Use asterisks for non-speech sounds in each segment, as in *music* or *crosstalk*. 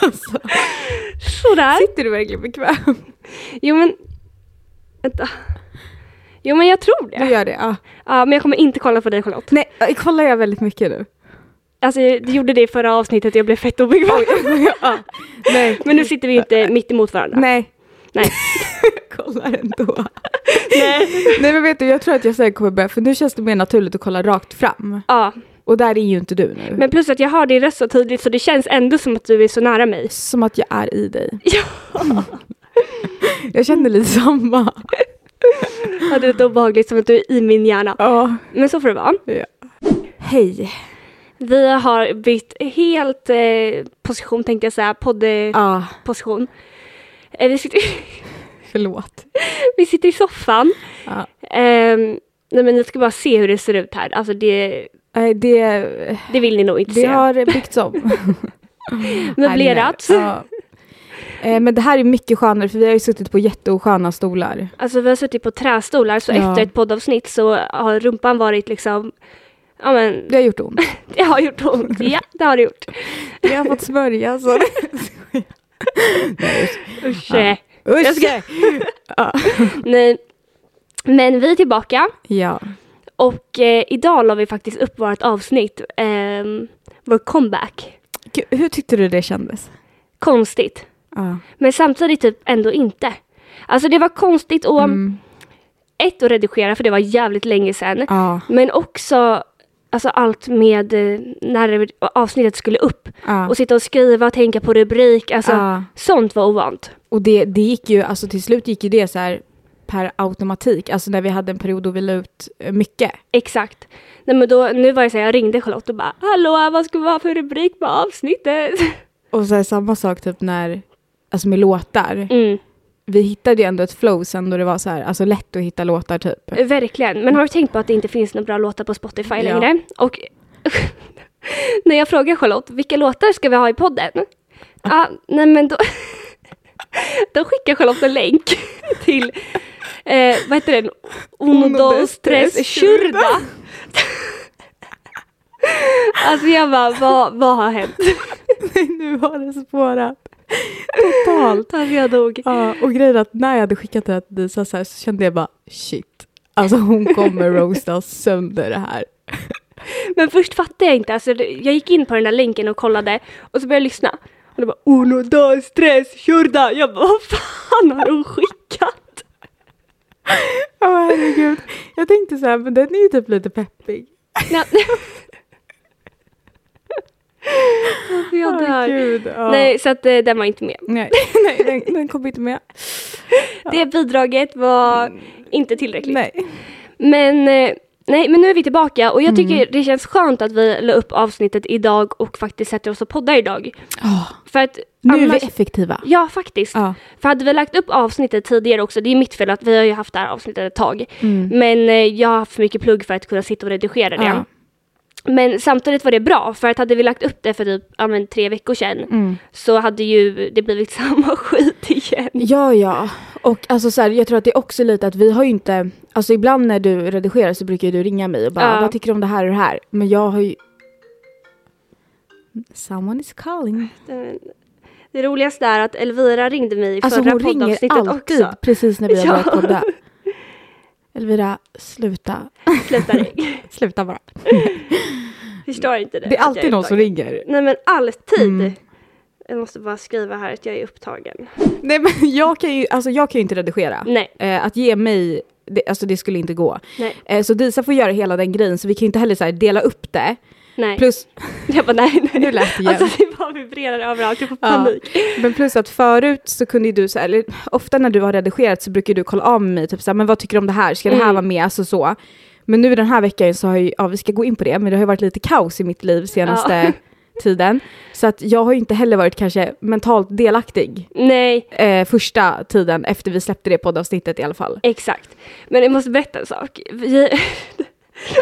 alltså, Sådär. sitter du verkligen bekvämt? Jo men... Vänta. Jo men jag tror Du det. gör det, ja. Ja, men jag kommer inte kolla på dig Charlotte. Nej, jag kollar jag väldigt mycket nu? Alltså jag gjorde det i förra avsnittet jag blev fett obekväm. *laughs* ja. Nej. Men nu sitter vi inte mitt emot varandra. Nej. Nej. *laughs* kollar ändå. Nej. Nej men vet du, jag tror att jag sen kommer börja, för nu känns det mer naturligt att kolla rakt fram. Ja, Och där är ju inte du nu. men plus att jag hör din röst så tydligt så det känns ändå som att du är så nära mig. Som att jag är i dig. Ja. *laughs* Jag känner lite samma. Ja, Det är lite obehagligt som att du är i min hjärna. Ja. Men så får det vara. Hej. Vi har bytt helt eh, position tänkte jag säga, poddposition. Ja, Eh, vi, sitter, *laughs* förlåt. vi sitter i soffan. Ja. Ehm, nej men ni ska bara se hur det ser ut här. Alltså det, Nej, Det, det vill ni nog inte det se. har byggts om. Möblerat. Ja. Eh, Men det här är mycket skönare för vi har ju suttit på jätteosköna stolar. Alltså vi har suttit på trästolar så Ja. efter ett poddavsnitt så har rumpan varit liksom, ja men Det har gjort ont. det har gjort ont. Ja, det har det gjort. *laughs* Jag har fått smörja *laughs* så. Usch. Ja. Jag ska- Nej. Men vi är tillbaka Ja. och eh, idag la vi faktiskt upp vårt avsnitt, ehm, vår comeback. Gud, Hur tyckte du det kändes? Mm. Konstigt, Ja. men samtidigt typ ändå inte. Alltså det var konstigt och Mm. ett att redigera för det var jävligt länge sedan. Ja. Men också alltså allt med eh, när avsnittet skulle upp. Ja. Och sitta och skriva och tänka på rubrik. Alltså, Ja. Sånt var ovant. Och det, det gick ju, alltså till slut gick ju det så här per automatik, alltså när vi hade en period då vi la ut eh, mycket. Exakt. Nej, men då, nu var det så här, jag ringde Charlotte och bara Hallå, vad ska vi ha för rubrik på avsnittet? *laughs* Och så här, samma sak typ när, alltså med låtar. Mm, Vi hittade ju ändå ett flow sen då det var så här, alltså lätt att hitta låtar *laughs* typ. Eh, verkligen. Men har du tänkt på att det inte finns några bra låtar på Spotify Ja. längre? Och *laughs* när jag frågar Charlotte, vilka låtar ska vi ha i podden? Ah, nej men då, *laughs* då skickar Charlotte en länk *laughs* till, eh, vad heter den? Uno, dos, tres, churda. *laughs* Alltså jag bara, vad, vad har hänt? nu har det spårat. Totalt. Alltså jag dog. Ja, och grejen är att när jag hade skickat det här till Disa så, här, så kände jag bara shit. Alltså hon kommer roasta sönder det här. Men först fattade jag inte, alltså, det- jag gick in på den där länken och kollade och så började jag lyssna. Och det bara uno, dos, stress, churda. Jag bara vad fan har hon *laughs* skickat? Ja herregud. Jag tänkte så här, men den är ju typ lite peppig. Nej. alltså jag dör. Herregud, ja. Nej, så att eh, den var inte med. Nej, nej den, den kom inte med. Det bidraget var inte tillräckligt. Mm. Nej. Men, eh, nej, men nu är vi tillbaka Mm. och jag tycker det känns skönt att vi la upp avsnittet idag och faktiskt sätter oss och poddar idag. För att Ah, nu är annars- vi effektiva. Ja, faktiskt. Ja. För hade vi lagt upp avsnittet tidigare också, det är mitt fel att vi har ju haft det här avsnittet ett tag. Mm. Men eh, jag har haft för mycket plugg för att kunna sitta och redigera det. Ja. Men samtidigt var det bra, för att hade vi lagt upp det för typ ja, men, tre veckor sedan Mm. så hade ju det blivit *laughs* samma skit igen. Ja, ja. Och alltså, så här, jag tror att det är också lite att vi har ju inte... Alltså ibland när du redigerar så brukar ju du ringa mig och bara Ja. vad tycker du om det här och det här? Men jag har ju... Someone is calling. Det roligaste är att Elvira ringde mig i Alltså förra hon ringer poddavsnittet alltid också. precis när vi har Ja. börjat podda. Elvira, sluta. *laughs* Sluta *laughs* ring. Sluta bara. Förstår inte det. Det att är jag alltid någon som upptagen. ringer. Nej men alltid. Mm. Jag måste bara skriva här att jag är upptagen. Nej men *laughs* jag kan ju, alltså, jag kan ju inte redigera. Nej. Eh, att ge mig, det, alltså det skulle inte gå. Nej. Eh, så Disa får göra hela den grejen så vi kan ju inte heller så här, dela upp det. Nej. Plus, Jag bara nej, nej. Nu lät det jävligt. Alltså det bara vibrerar överallt, jag får Ja. panik. *laughs* men plus att förut så kunde ju du, så här, eller, ofta när du har redigerat så brukar du kolla av med mig, typ så här, men vad tycker du om det här, ska det här Mm. vara med, alltså så. Men nu den här veckan så har jag ju, ja vi ska gå in på det, men det har ju varit lite kaos i mitt liv senaste tiden. Så att jag har ju inte heller varit kanske mentalt delaktig Nej, eh, första tiden efter vi släppte det poddavsnittet i alla fall. exakt. Men jag måste berätta en sak. Vi... *laughs*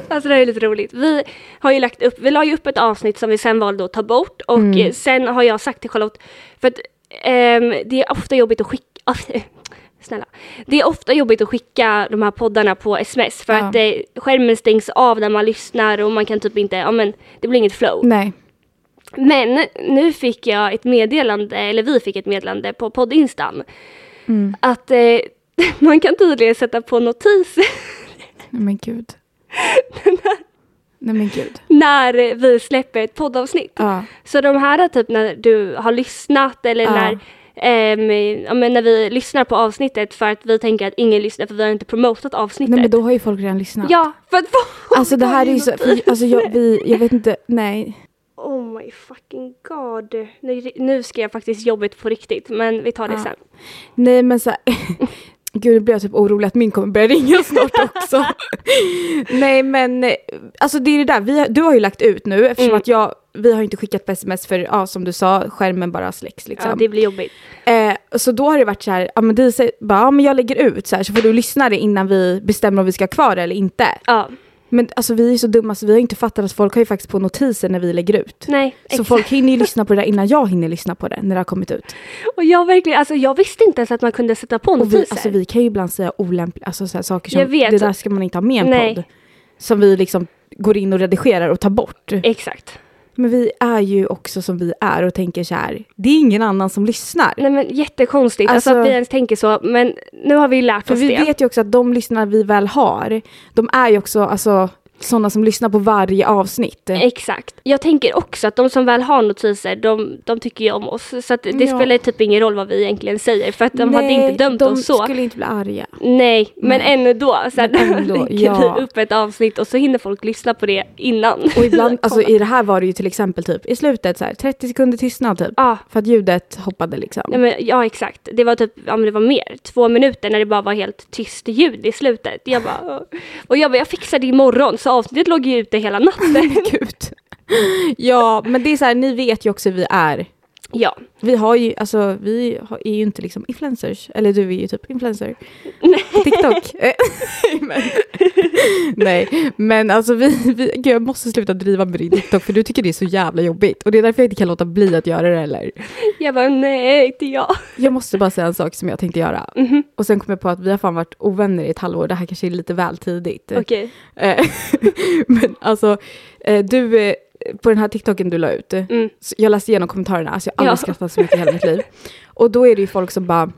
Alltså det här är lite roligt. Vi har ju lagt upp, vi la ju upp ett avsnitt som vi sen valde att ta bort och Mm. eh, sen har jag sagt till Charlotte, för att ehm, det är ofta jobbigt att skicka, ah, *laughs* snälla, det är ofta jobbigt att skicka de här poddarna på sms för Ja. att Mm. eh, skärmen stängs av när man lyssnar och man kan typ inte, ja men det blir inget flow. Nej. Men nu fick jag ett meddelande, eller vi fick ett meddelande på poddinstan Mm. att eh, *laughs* man kan tydligen sätta på notiser Nej men *laughs* gud. Nej men gud. *laughs* när vi släpper ett poddavsnitt. Ja. Så de här typ när du har lyssnat eller Ja. när, ehm, ja, men när vi lyssnar på avsnittet för att vi tänker att ingen lyssnar för vi har inte promotat avsnittet. Nej men då har ju folk redan lyssnat. Ja, för att få *laughs* Alltså det här är ju så, för, alltså jag, vi, jag vet inte, nej. *laughs* Oh my fucking god. Nu, nu ska jag faktiskt jobbet på riktigt men vi tar det Ja. sen. Nej men så *laughs* här, gud nu blir jag typ orolig att min kommer börja ringa snart *laughs* också. nej men, eh, alltså det är det där, vi, har- du har ju lagt ut nu eftersom Mm. att jag, vi har ju inte skickat på sms för, ja som du sa, skärmen bara släcks liksom. Ja, det blir jobbigt. Eh, så då har det varit så här, ja men det säger bara, ja men jag lägger ut så här så får du lyssna det innan vi bestämmer om vi ska ha kvar det eller inte. Ja, Men alltså vi är ju så dumma så vi har inte fattat att folk har ju faktiskt på notiser när vi lägger ut. nej. Så exakt. folk hinner ju lyssna på det där innan jag hinner lyssna på det när det har kommit ut. Och jag verkligen, alltså jag visste inte ens att man kunde sätta på Och vi, notiser. alltså, vi kan ju ibland säga olämpliga alltså, så här, saker som Jag vet. det där ska man inte ha med i en Nej. podd. Som vi liksom går in och redigerar och tar bort. E- Exakt. Men vi är ju också som vi är och tänker så här, det är ingen annan som lyssnar. Nej men jättekonstigt alltså, Alltså- att vi ens tänker så men nu har vi ju lärt För oss vi det. vet ju också att de lyssnare vi väl har, de är ju också alltså, sådana som lyssnar på varje avsnitt. Exakt. Jag tänker också att de som väl har notiser, de, de tycker ju om oss. Så att det Ja. spelar typ ingen roll vad vi egentligen säger för att de hade Nej, inte dömt de oss så. skulle inte bli arga. Nej, men Nej. ändå. Så här, Men ändå, *laughs* lägger ja. vi upp ett avsnitt och så hinner folk lyssna på det innan. *laughs* Och ibland, *laughs* alltså Kolla. i det här var det ju till exempel typ i slutet så här 30 sekunder tystnad typ. Ja, För att ljudet hoppade liksom. nej, men, ja, exakt. Det var typ, ja men det var mer, två minuter när det bara var helt tyst ljud i slutet. Jag bara, "Åh." och jag bara, jag fixar det imorgon. Så avsnittet låg ju ute hela natten. *laughs* *laughs* Gud. Ja, men det är så här, ni vet ju också hur vi är. ja, Vi har ju, alltså vi har, är ju inte liksom influencers. Eller du är ju typ influencer. På TikTok. Eh, men, *laughs* nej, men alltså vi, vi, gud, jag måste sluta driva med din TikTok för du tycker det är så jävla jobbigt. Och det är därför jag inte kan låta bli att göra det eller. jag bara, nej, inte jag. Jag måste bara säga en sak som jag tänkte göra. *laughs* Mhm. Och sen kom jag på att vi har fan varit ovänner i ett halvår. Det här kanske är lite väl tidigt. Okej. Eh, *laughs* men alltså, eh, du, eh, på den här TikToken du la ut, eh, Mm. så jag läste igenom kommentarerna, alltså jag har aldrig Ja. skrattat så mycket i hela mitt liv. Och då är det ju folk som bara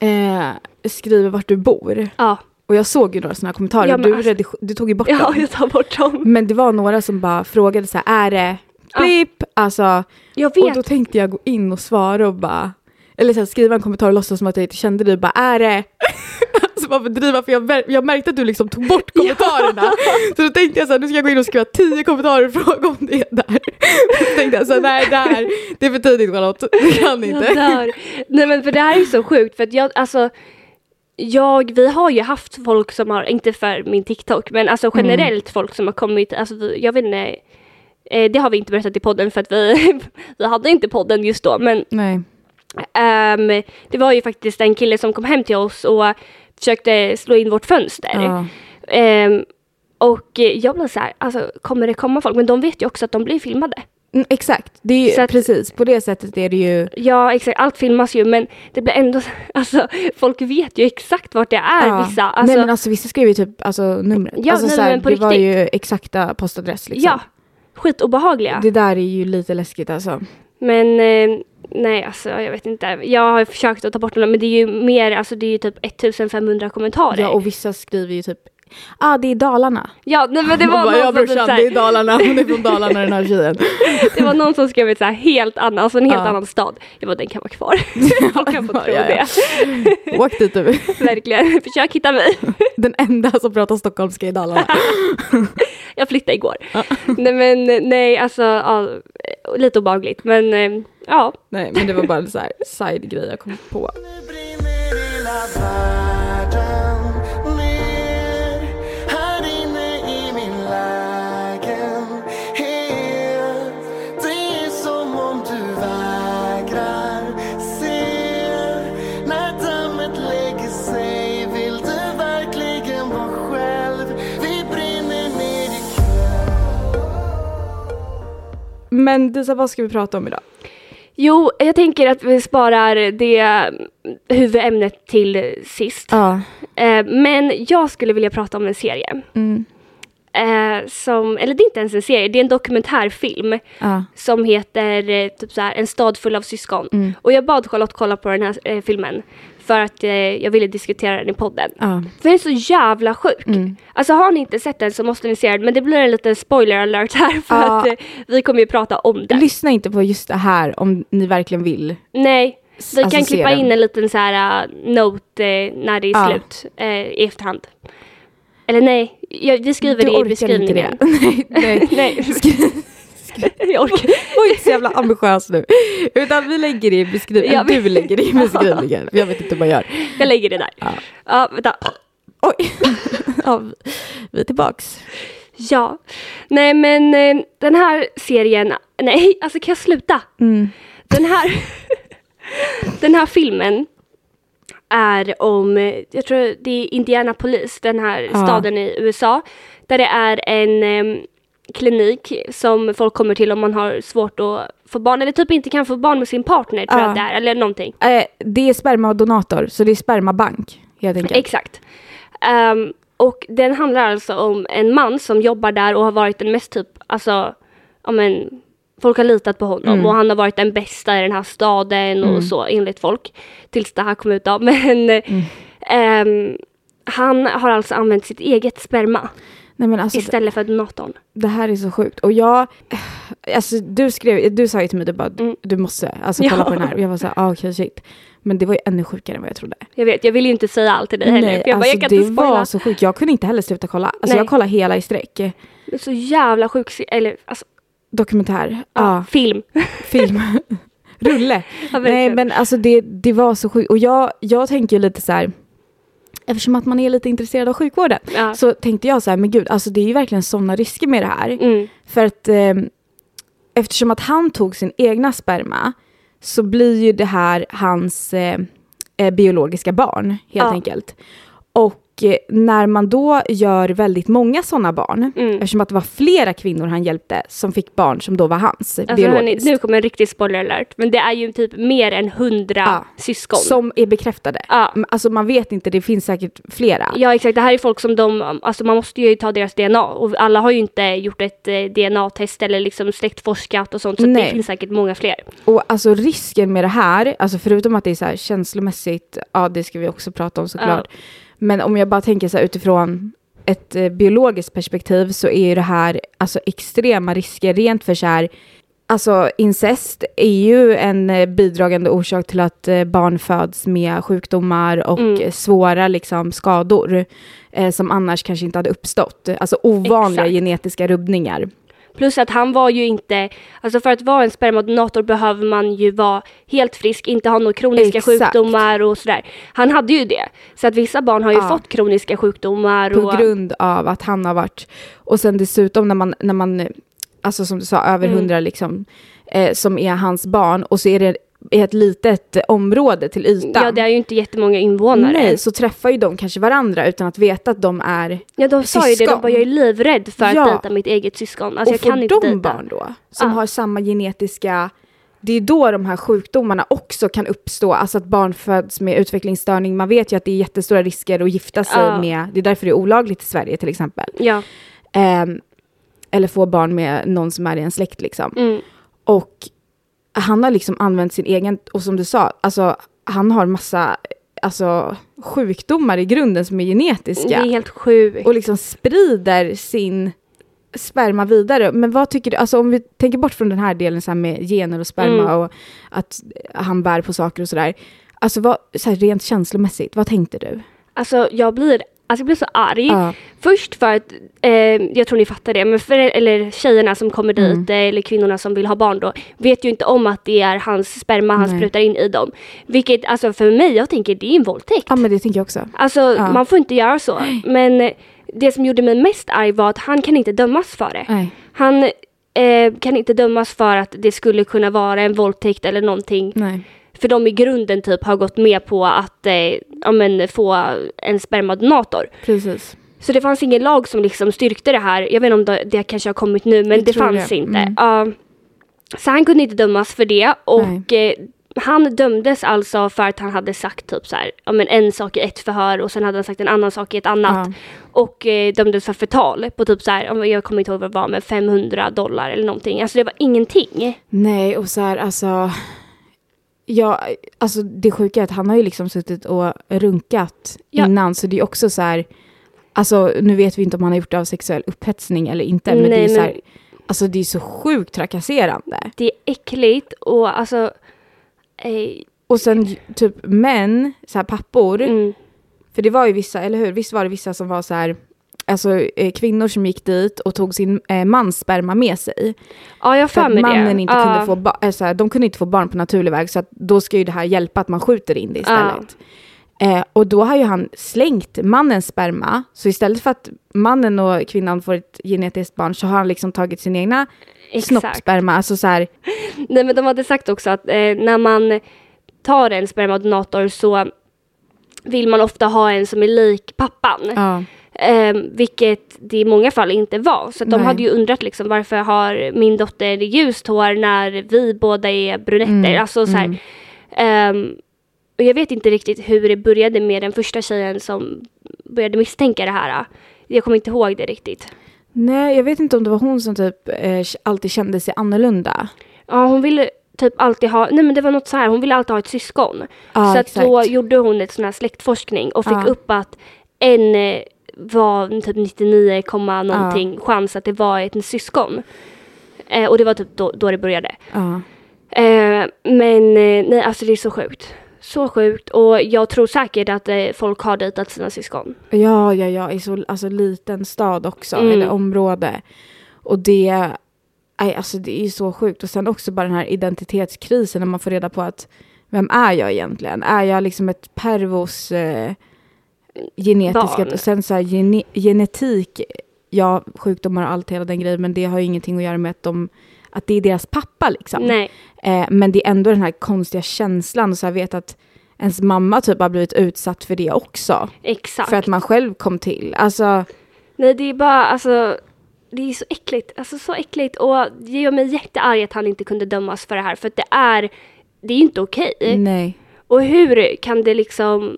eh, skriver vart du bor. Ja, Och jag såg ju några sådana här kommentarer, Ja, och men du, alltså- redig- du tog ju bort ja, dem. jag tar bort dem. Men det var några som bara frågade så här, är det Ja. blipp? Alltså, Jag och vet. då tänkte jag gå in och svara och bara, eller så här, skriva en kommentar och låtsas som att jag inte kände dig, bara är det? *laughs* alltså bara bedriva, för jag, mär- jag märkte att du liksom tog bort kommentarerna. så då tänkte jag så här, nu ska jag gå in och skriva tio kommentarer och fråga om det är där. *laughs* så tänkte jag så här, nej det här, det är för tidigt Charlotte, du kan Jag inte. dör. Nej men för det här är ju så sjukt för att jag, alltså jag, vi har ju haft folk som har, inte för min TikTok, men alltså generellt folk som har kommit, alltså vi, jag vet inte, eh, det har vi inte berättat i podden för att vi, *laughs* vi hade inte podden just då, men Nej. ehm, det var ju faktiskt en kille som kom hem till oss och försökte slå in vårt fönster. Ja. Ehm, och eh, jag blev så här, alltså kommer det komma folk? Men de vet ju också att de blir filmade. Mm, exakt, det är ju, Så att- precis på det sättet är det ju. Ja, exakt. Allt filmas ju, men det blir ändå... *laughs* Alltså, folk vet ju exakt vart det är, ja. vissa. Alltså, nej men alltså vissa skriver ju typ alltså, numret. Ja, alltså, nej, så här, men på det var riktigt. ju exakta postadress liksom. Ja, skitobehagliga. Det där är ju lite läskigt alltså. Men eh, nej, alltså jag vet inte. Jag har försökt att ta bort dem, men det är ju mer, alltså det är ju typ 1500 kommentarer. Ja, och vissa skriver ju typ ah, det är Dalarna. Ja, nej, *laughs* men det var, Och bara, någon ja som typ brorsan, så det är här, Dalarna, hon är från Dalarna den här *laughs* tjejen. det var någon som skrev ett så här helt annan, alltså en helt Ja. annan stad. Jag bara, den kan vara *laughs* kvar. Folk kan få Ja, tro ja, ja. det. Åk dit du, Verkligen. Försök hitta mig. den enda som pratar stockholmska i Dalarna. Jag flyttade igår. *laughs* nej men nej, alltså ja, lite obehagligt. Men eh, ja, *laughs* Nej men det var bara en så här side-grej jag kom på. brinner hela världen ner Här inne i min lägenhet Det är som om du vägrar se När dammet lägger sig vill du verkligen vara själv Vi brinner ner i Men Disa, vad ska vi prata om idag? Jo, jag tänker att vi sparar det huvudämnet till sist. Ja. Eh, Men jag skulle vilja prata om en serie. Mm. eh, som, eller det är inte ens en serie, det är en dokumentärfilm Ja. som heter eh, typ så här, En stad full av syskon. Mm. Och jag bad Charlotte kolla på den här eh, filmen för att eh, jag ville diskutera den i podden. Ja. mm. För den är så jävla sjuk. Alltså har ni inte sett den så måste ni se den, men det blir en liten spoiler alert här för Ja. att eh, vi kommer ju prata om den. Lyssna inte på just det här om ni verkligen vill. Nej, vi Alltså, kan se klippa den. in en liten så här eh, note eh, när det är Ja. slut eh, i efterhand. Eller nej, jag, vi skriver du det i orkar inte beskrivningen. det. *laughs* nej, nej. *laughs* nej, Skri- jag orkar. Var inte så jävla ambitiös nu. Utan vi lägger det i beskrivningen. Jag Eller Du vet. lägger det *laughs* i beskrivningen. Jag vet inte hur man gör. Jag lägger det där. Ja, vänta. Oj. ja, vi- vi är tillbaks. Ja. Nej, men eh, den här serien... Nej, alltså kan jag sluta? Mm. Den här... *laughs* den här filmen är om, eh, jag tror det är Indianapolis, den här Ja. staden i USA, där det är en em, klinik som folk kommer till om man har svårt att få barn, eller typ inte kan få barn med sin partner, tror Ja. jag att det är, eller någonting. Eh, det är spermadonator, så det är spermabank helt enkelt. Exakt. Ehm, och den handlar alltså om en man som jobbar där och har varit den mest typ, alltså, ja men, folk har litat på honom Mm. och han har varit den bästa i den här staden och så enligt folk. Tills det här kom ut av. *laughs* Men Mm. ehm, han har alltså använt sitt eget sperma Nej, men alltså, istället för donatorn. Det här är så sjukt. Och jag, alltså du skrev, du sa ju till mig du bara, Mm. du måste alltså, kolla Ja. på den här. Och jag var så här, ah, okej shit. Men det var ju ännu sjukare än vad jag trodde. Jag vet, jag vill ju inte säga allt till dig heller. för jag, bara, alltså, jag kan det inte spoila. var så sjukt. Jag kunde inte heller sluta kolla. Alltså Nej. jag kollade hela i sträck. Det är Så jävla sjuk, se- eller alltså, Dokumentär, ja, ja, film. film, rulle. Ja, *laughs* Nej verkligen. men alltså det, det var så sjukt. Och jag, jag tänker ju lite så här, eftersom att man är lite intresserad av sjukvården. ja. Så tänkte jag så här, men gud, alltså det är ju verkligen sådana risker med det här. Mm. För att eh, eftersom att han tog sin egna sperma så blir ju det här hans eh, eh, biologiska barn helt Ja. enkelt. Och eh, när man då gör väldigt många sådana barn, Mm. eftersom att det var flera kvinnor han hjälpte som fick barn som då var hans Alltså, hörni, biologiskt. nu kommer en riktig spoiler alert, men det är ju typ mer än hundra Ja, syskon. som är bekräftade. Ja. M- Alltså man vet inte, det finns säkert flera. Ja exakt, det här är folk som de, alltså man måste ju ta deras DNA och alla har ju inte gjort ett eh, DNA-test eller liksom släktforskat och sånt så det Nej. finns säkert många fler. Och alltså risken med det här, alltså förutom att det är så här känslomässigt, ja det ska vi också prata om såklart. Men om jag bara tänker så här utifrån ett eh, biologiskt perspektiv så är ju det här alltså extrema risker rent för så här, alltså incest är ju en eh, bidragande orsak till att eh, barn föds med sjukdomar och Mm. eh, svåra liksom skador eh, som annars kanske inte hade uppstått. Alltså ovanliga Exakt. genetiska rubbningar. Plus att han var ju inte, alltså för att vara en spermadonator behöver man ju vara helt frisk, inte ha några kroniska Exakt. sjukdomar och sådär. Han hade ju det. Så att vissa barn har ju Ja. fått kroniska sjukdomar på och grund av att han har varit, och sen dessutom när man, när man eh, alltså som du sa, över Mm. hundra liksom, eh, som är hans barn, och så är det i ett litet eh, område till ytan. ja det är ju inte jättemånga invånare. Nej, så träffar ju de kanske varandra utan att veta att de är... Ja de sa ju det, de Syskon. bara jag är livrädd för att Ja. dejta mitt eget syskon. Alltså och jag får kan inte Ah. de dejta. barn då, som Ja. har samma genetiska... Det är då de här sjukdomarna också kan uppstå, alltså att barn föds med utvecklingsstörning. Man vet ju att det är jättestora risker att gifta sig Ja. med, det är därför det är olagligt i Sverige till exempel. Ja. Ehm, eller få barn med någon som är i en släkt liksom. Mm. Och han har liksom använt sin egen, och som du sa, alltså han har massa alltså, sjukdomar i grunden som är Det genetiska. är helt sjukt. Och liksom sprider sin sperma vidare. Men vad tycker du, alltså om vi tänker bort från den här delen så här med gener och sperma Mm. och att han bär på saker och sådär. Alltså vad, så här, rent känslomässigt, vad tänkte du? Alltså jag blir, alltså, jag blir så arg. Ja. Först för att, eh, jag tror ni fattar det, men för, eller tjejerna som kommer Mm. dit eh, eller kvinnorna som vill ha barn då vet ju inte om att det är hans sperma han Nej. sprutar in i dem. Vilket alltså för mig, jag tänker det är en våldtäkt. Ja men det tänker jag också. Alltså Ja. man får inte göra så. Men eh, det som gjorde mig mest arg var att han kan inte dömas för det. Nej. Han eh, kan inte dömas för att det skulle kunna vara en våldtäkt eller någonting. Nej. För de i grunden typ har gått med på att eh, ja, men, få en spermadonator. Precis. Så det fanns ingen lag som liksom styrkte det här. Jag vet inte om det, det kanske har kommit nu, men Jag det tror Mm. fanns det. inte. Mm. Ja. så han kunde inte dömas för det och eh, han dömdes alltså för att han hade sagt typ så här, ja, men en sak i ett förhör och sen hade han sagt en annan sak i ett annat. Ja. Och eh, dömdes för förtal på typ så här, ja, men jag kommer inte ihåg vad det var, men 500 dollar eller någonting. Alltså det var ingenting. Nej, och så här alltså. Ja, alltså det sjuka är att han har ju liksom suttit och runkat Ja. innan så det är också så här. Alltså nu vet vi inte om han har gjort det av sexuell upphetsning eller inte. Men det är Nej, ju så men- här. Alltså det är så sjukt trakasserande. Det är äckligt och alltså... Eh, Och sen typ män, så här pappor. mm, För det var ju vissa, eller hur? Visst var det vissa som var så här. Alltså eh, kvinnor som gick dit och tog sin eh, mans sperma med sig. ja, jag har För för att mig mannen det. inte ja. kunde få ba- eller så här, de kunde inte få barn på naturlig väg så att då ska ju det här hjälpa att man skjuter in det istället. Eh, och då har ju han slängt mannens sperma. Så istället för att mannen och kvinnan får ett genetiskt barn så har han liksom tagit sin egna Exakt. snoppsperma. Alltså så här, Nej men de hade sagt också att eh, när man tar en spermadonator så vill man ofta ha en som är lik pappan. ja. Eh, vilket det i många fall inte var. Så att de Nej. hade ju undrat liksom varför har min dotter ljust hår när vi båda är brunetter. Mm, Alltså så här. mm. Ehm, och jag vet inte riktigt hur det började med den första tjejen som började misstänka det här. Jag kommer inte ihåg det riktigt. Nej, jag vet inte om det var hon som typ eh, alltid kände sig annorlunda. Ja, hon ville typ alltid ha, nej men det var något så här, hon ville alltid ha ett syskon. Ja, så att exakt. då gjorde hon ett sån här släktforskning och fick Ja. upp att en eh, var typ 99, komma någonting chans att det var ett syskon. Eh, och det var typ då, då det började. Ja. Eh, men eh, nej, alltså det är så sjukt. Så sjukt och jag tror säkert att eh, folk har dejtat sina syskon. Ja, ja, ja, i så alltså, liten stad också, Mm. eller område. Och det, nej, alltså, det är ju så sjukt. Och sen också bara den här identitetskrisen när man får reda på att vem är jag egentligen? Är jag liksom ett pervos eh, genetiskt? Barn. Och sen så här, gene, genetik, ja, sjukdomar och allt, hela den grejen, men det har ju ingenting att göra med att, de, att det är deras pappa liksom. Nej, Eh, men det är ändå den här konstiga känslan och så här vet att ens mamma typ har blivit utsatt för det också. exakt. För att man själv kom till. Alltså, Nej, det är bara alltså. Det är så äckligt, alltså så äckligt och det gör mig jättearg att han inte kunde dömas för det här för att det är, det är inte okej. nej. Och hur kan det liksom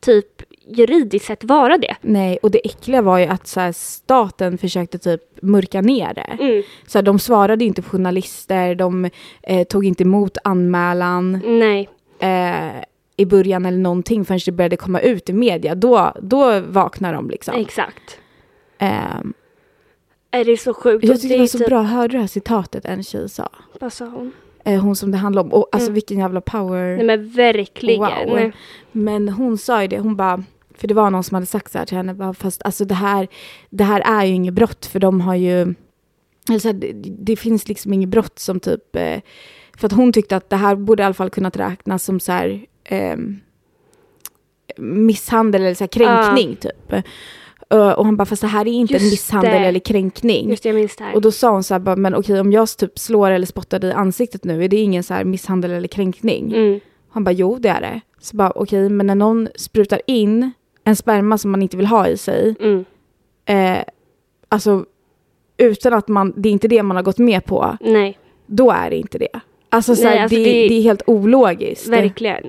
typ juridiskt sett vara det? Nej, och det äckliga var ju att så här, staten försökte typ mörka ner det. Mm. Så här, de svarade inte på journalister, de eh, tog inte emot anmälan Nej, eh, i början eller någonting förrän det började komma ut i media. Då, då vaknade de liksom. exakt. Ehm, Är det så sjukt? jag Och tyckte det är var så typ- bra, hörde du det här citatet en tjej sa? Vad sa hon? Eh, hon som det handlar om. Och alltså Mm. vilken jävla power. Nej men verkligen. Wow. Men hon sa ju det, hon bara, för det var någon som hade sagt så här till henne, bara, fast alltså det här, det här är ju inget brott för de har ju, eller så här, det, det finns liksom inget brott som typ, eh, för att hon tyckte att det här borde i alla fall kunnat räknas som så här ehm, misshandel eller så här kränkning typ. Eh, Och han bara, fast det här är inte Just en misshandel det. eller kränkning. Just det, jag minns det här. Och då sa hon så här, bara, men okej om jag typ slår eller spottar dig i ansiktet nu, är det ingen så här misshandel eller kränkning? mm. Han bara, jo det är det. Så bara, okej, men när någon sprutar in en sperma som man inte vill ha i sig, Mm. eh, alltså utan att man, det är inte det man har gått med på, Nej, då är det inte det. Alltså, så Nej, här, alltså, det, det- det är helt ologiskt. verkligen.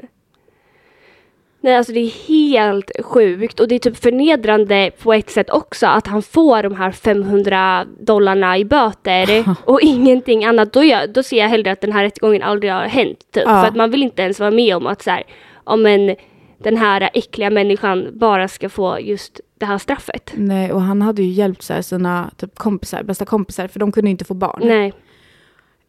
Nej, alltså det är helt sjukt och det är typ förnedrande på ett sätt också att han får de här 500 dollarna i *laughs* böter och ingenting annat. Då, gör, då ser jag hellre att den här rättegången aldrig har hänt. Typ. Ja. För att man vill inte ens vara med om att så här, om en, den här äckliga människan bara ska få just det här straffet. Nej, och han hade ju hjälpt så här, sina typ, kompisar, bästa kompisar, för de kunde ju inte få barn. Nej,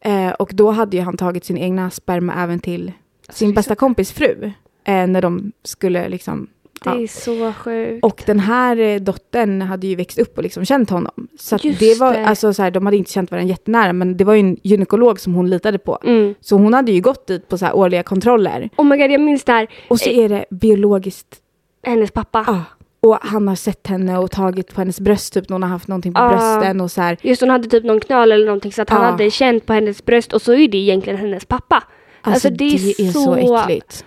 Eh, och då hade ju han tagit sin egna sperma även till Alltså, sin bästa kompis fru, eh, när de skulle liksom det ja. är så sjukt. Och den här eh, dottern hade ju växt upp och liksom känt honom. Så att Just det var, det. Alltså, så här, de hade inte känt varandra jättenära, men det var ju en gynekolog som hon litade på. Mm. Så hon hade ju gått dit på så här årliga kontroller. Oh my god, jag minns det här. Och så är det biologiskt, Hennes pappa. ja. Och han har sett henne och tagit på hennes bröst, typ när hon har haft någonting på Ah. brösten och så här. Just hon hade typ någon knöl eller någonting så att han Ja. hade känt på hennes bröst och så är det egentligen hennes pappa. Alltså, det, är så, äckligt.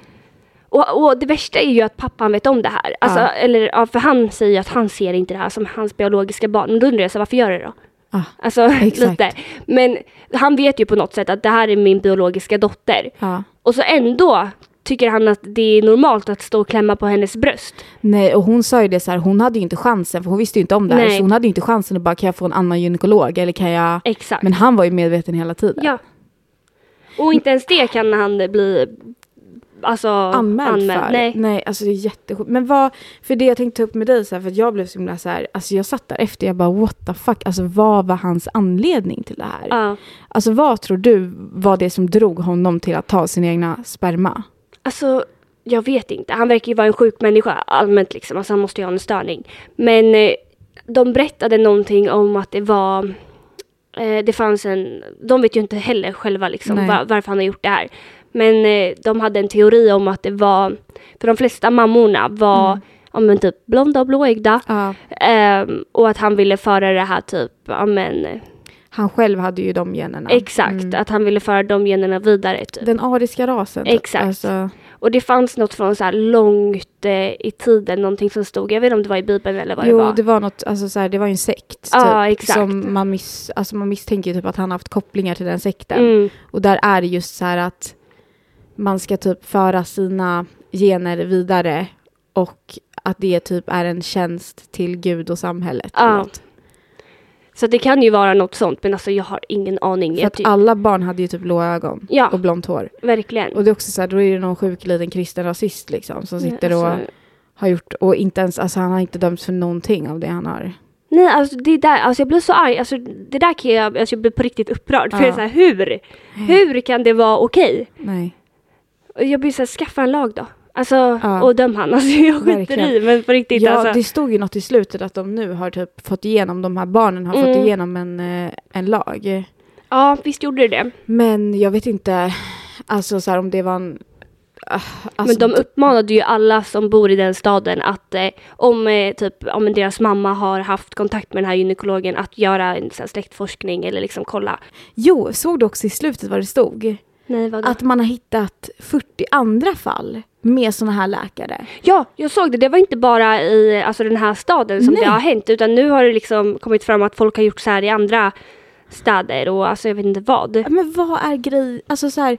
Och, och det värsta är ju att pappan vet om det här. Alltså, Ja. eller, ja, för han säger ju att han ser inte det här som hans biologiska barn. Men då undrar jag så här, varför gör du det då? Ah, Alltså *laughs* Exakt. lite. Men han vet ju på något sätt att det här är min biologiska dotter. ja. Och så ändå tycker han att det är normalt att stå och klämma på hennes bröst. Nej, och hon sa ju det så här, hon hade ju inte chansen, för hon visste ju inte om det här. Nej. Så hon hade ju inte chansen att bara, kan jag få en annan gynekolog eller kan jag... Exakt. Men han var ju medveten hela tiden. Ja. Och inte ens det kan han bli alltså, Anmäld, för. Nej. alltså det är jättesjukt. Men vad, för det jag tänkte ta upp med dig så här, för att jag blev så himla så här, alltså jag satt där efter, jag bara what the fuck, alltså vad var hans anledning till det här? Ja. Alltså vad tror du var det som drog honom till att ta sin egna sperma? Alltså, jag vet inte. Han verkar ju vara en sjuk människa allmänt liksom. Alltså han måste ju ha en störning. Men eh, de berättade någonting om att det var eh, det fanns en, de vet ju inte heller själva liksom Nej. va, varför han har gjort det här. Men eh, de hade en teori om att det var, för de flesta mammorna var ja, men typ blonda och blåögda. Ja. Ehm, och att han ville föra det här typ, ja men Han själv hade ju de generna. Exakt, Mm. att han ville föra de generna vidare. Typ. Den ariska rasen. typ. Exakt. Alltså, Och det fanns något från så här långt eh, i tiden, någonting som stod, jag vet inte om det var i Bibeln eller vad jo, det var. det var något, alltså så här, det var ju en sekt. Ja, typ, exakt. Som man, miss, alltså, man misstänker ju typ att han har haft kopplingar till den sekten. Mm, Och där är det just så här att man ska typ föra sina gener vidare och att det typ är en tjänst till Gud och samhället. typ. Ja, eller något. så det kan ju vara något sånt, men alltså jag har ingen aning. För Jag att ty- alla barn hade ju typ blå ögon Ja. och blont hår. verkligen. Och det är också så här, då är det någon sjuk liten kristen rasist liksom som sitter och Alltså, har gjort och inte ens, alltså han har inte dömts för någonting av det han har. nej, alltså det där, alltså jag blir så arg, alltså det där kan jag, alltså jag blir på riktigt upprörd. För Ja. Mm. jag är så här, hur? Hur kan det vara okej? Nej. Och Jag blir så här, skaffa en lag då. Alltså, Ja. och döm han. Alltså jag skiter Verkligen. i, men på riktigt ja, alltså. det stod ju något i slutet att de nu har typ fått igenom, de här barnen har fått Mm. igenom en, eh, en lag. Ja, visst gjorde det det. Men jag vet inte, alltså så här, om det var en... ah, alltså, men de uppmanade ju alla som bor i den staden att eh, om eh, typ, om deras mamma har haft kontakt med den här gynekologen att göra en sån här släktforskning eller liksom kolla. Jo, såg du också i slutet vad det stod? Nej, vadå? Att man har hittat 40 andra fall med såna här läkare. ja, jag såg det. Det var inte bara i alltså, den här staden som Nej. det har hänt utan nu har det liksom kommit fram att folk har gjort så här i andra städer och alltså jag vet inte vad. Men vad är grej... Alltså så här,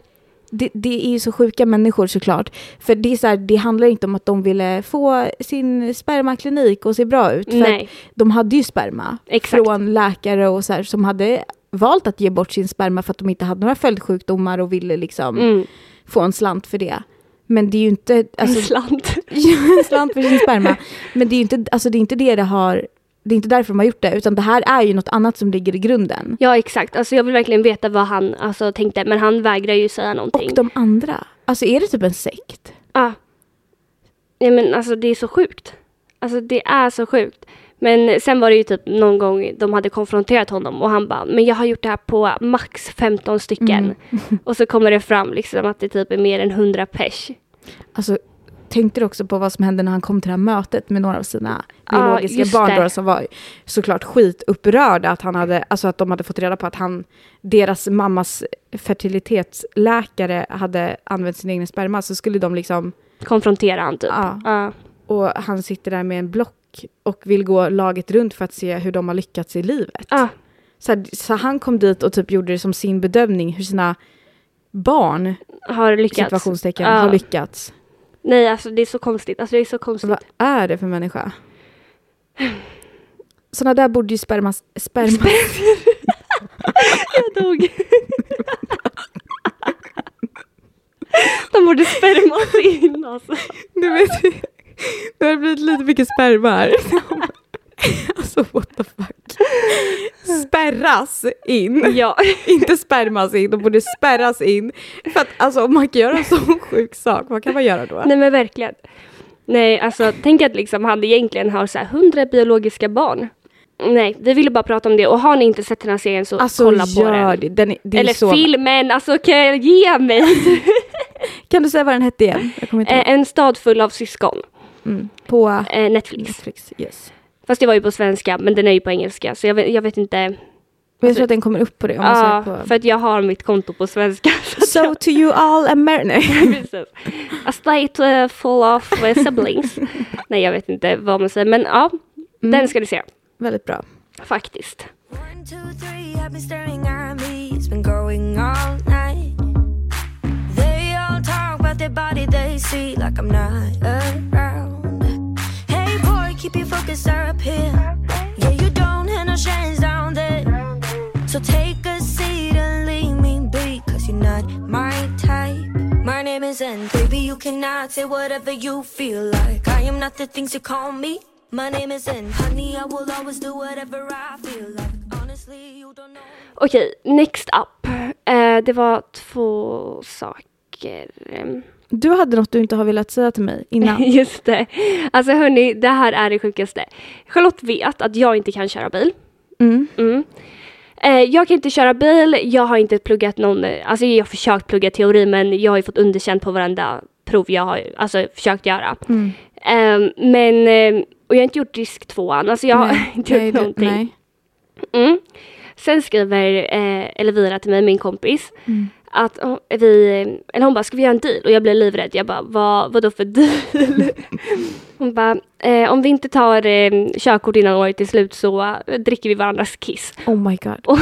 det, det är ju så sjuka människor såklart. För det, är så här, det handlar inte om att de ville få sin spermaklinik och se bra ut. För Nej. att de hade ju sperma Exakt. från läkare och så här, som hade valt att ge bort sin sperma för att de inte hade några följdsjukdomar och ville liksom Mm. få en slant för det. Men det är ju inte... en *laughs* Alltså, slant. *laughs* en slant för sin sperma. Men det är ju inte, alltså, det, är inte det, det, har, det är inte därför de har gjort det, utan det här är ju något annat som ligger i grunden. Ja, exakt. Alltså jag vill verkligen veta vad han alltså, tänkte men han vägrar ju säga någonting. Och de andra. Alltså är det typ en sekt? Ja. Ja men alltså det är så sjukt. Alltså det är så sjukt. Men sen var det ju typ någon gång de hade konfronterat honom och han bara men jag har gjort det här på max 15 stycken. Mm. *laughs* och så kommer det fram liksom att det typ är mer än 100 pers. Alltså, tänkte du också på vad som hände när han kom till det här mötet med några av sina Ja, biologiska just barn det. då, som var såklart skitupprörda att, han hade, alltså att de hade fått reda på att han, deras mammas fertilitetsläkare hade använt sin egen sperma så skulle de liksom, Konfronterar han typ. Ja. Ja. och han sitter där med en block och vill gå laget runt för att se hur de har lyckats i livet. Ja. Så, här, så han kom dit och typ gjorde det som sin bedömning hur sina barn, har lyckats. situationstecken, Ja. har lyckats. Nej alltså det är så konstigt. Alltså det är så konstigt. Vad är det för människa? Såna där borde ju sperma... sperma. *laughs* Jag dog. de borde spermas in alltså. Du vet, det har blivit lite mycket *laughs* sperma här. Alltså what the fuck. Spärras in. *laughs* Ja. Inte spärmas in, de borde spärras in. För att alltså, om man kan göra en sån sjuk sak, vad kan man göra då? Nej men verkligen. Nej, alltså tänk att liksom han egentligen har så här 100 biologiska barn. Nej, vi ville bara prata om det och har ni inte sett den här serien så Alltså kolla på gör den. det. Den är, det är Eller så... filmen, alltså kan jag ge *laughs* mig? Kan du säga vad den hette igen? Jag kommer inte ihåg. Eh, en stad full av syskon, Mm. På eh, Netflix. Netflix. Yes. Fast det var ju på svenska, men den är ju på engelska så jag vet, jag vet inte. Men jag tror att den kommer upp på det. Om man Alltså, Ja, söker på... för att jag har mitt konto på svenska. *laughs* så att So to you all America. jag- precis. A state eh, full of eh, *laughs* siblings. Nej, jag vet inte vad man säger, men ja, *laughs* den ska ni se. Mm, Väldigt bra. Faktiskt. One One, two, three, I've been staring at me. It's been going all night. They all talk about their body, they see like I'm not around. Hey boy, keep your focus up here. Yeah, you don't have no shines down there. So take a seat and leave me be, cause you're not my type. My name is N, baby, you cannot say whatever you feel like. I am not the things you call me. My name is N, honey, I will always do whatever I feel like. Honestly, you don't know. Okej, next up. Eh, det var två saker. Ehm, Du hade något du inte har velat säga till mig innan. *laughs* Just det. Alltså hörni, det här är det sjukaste. Charlotte vet att jag inte kan köra bil. Mm. Mm. Eh, jag kan inte köra bil, jag har inte pluggat någon, alltså jag har försökt plugga teori men jag har ju fått underkänt på varenda prov jag har alltså, försökt göra. Mm. Eh, men, eh, och jag har inte gjort risk tvåan, alltså jag har *laughs* inte gjort nej, du- någonting. Nej. Mm. Sen skriver eh, Elvira till mig, min kompis, Mm. att oh, vi, eller hon bara, ska vi göra en deal? Och jag blev livrädd. Jag bara, vad, vadå för deal? *laughs* hon bara, eh, om vi inte tar eh, körkort innan året är slut så eh, dricker vi varandras kiss. *laughs* Oh my god. Och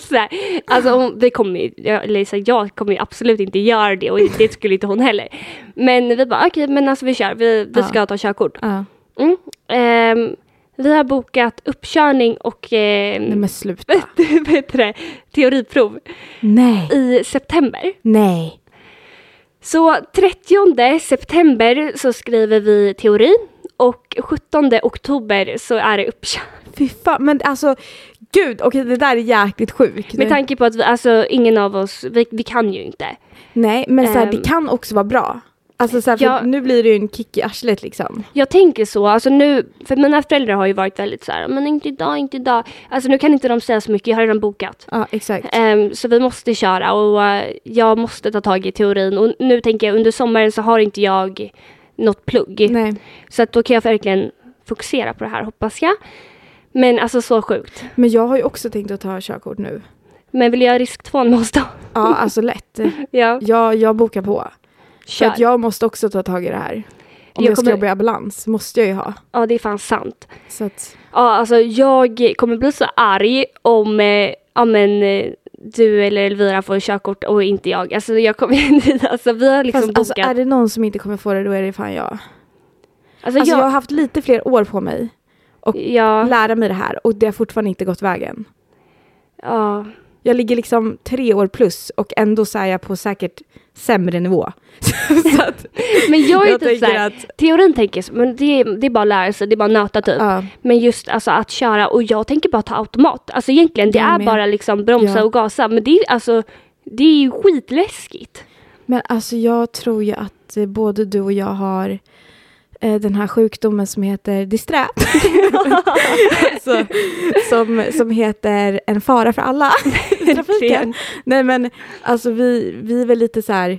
så här, alltså hon, vi kommer ju, jag, eller så här, jag kommer ju absolut inte göra det och det skulle inte hon heller. Men vi bara, okej men alltså vi kör, vi, vi Ja. ska ta körkort. Ja. Mm. Ehm, vi har bokat uppkörning och ehm, Nej men sluta. *laughs* vad heter det, teoriprov Nej. i september. Nej. Så 30 september så skriver vi teori och 17 oktober så är det uppkört. Fy fan. Men alltså gud, okej det där är jäkligt sjukt. Med tanke på att vi, alltså, ingen av oss, vi, vi kan ju inte. Nej men så här, Ehm. det kan också vara bra. Alltså så här, för Ja. nu blir det ju en kick i arslet liksom. Jag tänker så, alltså nu, för mina föräldrar har ju varit väldigt så här, men inte idag, inte idag. Alltså nu kan inte de säga så mycket, jag har redan bokat. Ja exakt. Ehm, så vi måste köra och eh, jag måste ta tag i teorin. Och nu tänker jag, under sommaren så har inte jag något plugg. Nej. Så att då kan jag verkligen fokusera på det här hoppas jag. Men alltså så sjukt. Men jag har ju också tänkt att ta körkort nu. Men vill jag risk tvåan med oss då? *laughs* Ja alltså lätt. Ja, Jag, jag bokar på. För kör. att jag måste också ta tag i det här. Om Jag jag, ska kommer- jobba i ambulans måste jag ju ha. Ja, det är fan sant. Så att, Ja, alltså jag kommer bli så arg om, eh, ja men eh, du eller Elvira får körkort och inte jag. Alltså jag *laughs* kommer, alltså vi har liksom fast, alltså, bokat. är det någon som inte kommer få det då är det fan jag. Alltså, Alltså, jag har jag, haft lite fler år på mig ja, lära mig det här och det har fortfarande inte gått vägen. ja, Jag ligger liksom tre år plus och ändå så är jag på säkert sämre nivå. *laughs* så att, Men jag är typ tänker såhär, att, teorin tänker så, men det, är- det är bara att lära sig, det är bara att nöta typ. ja, Men just alltså att köra och jag tänker bara ta automat. Alltså egentligen det Jag är med. bara liksom bromsa Ja. och gasa men det är alltså det är ju skitläskigt. men alltså jag tror ju att eh, både du och jag har eh, den här sjukdomen som *laughs* heter disträ. alltså, som, som heter en fara för alla i trafiken. Nej men alltså vi, vi är väl lite så här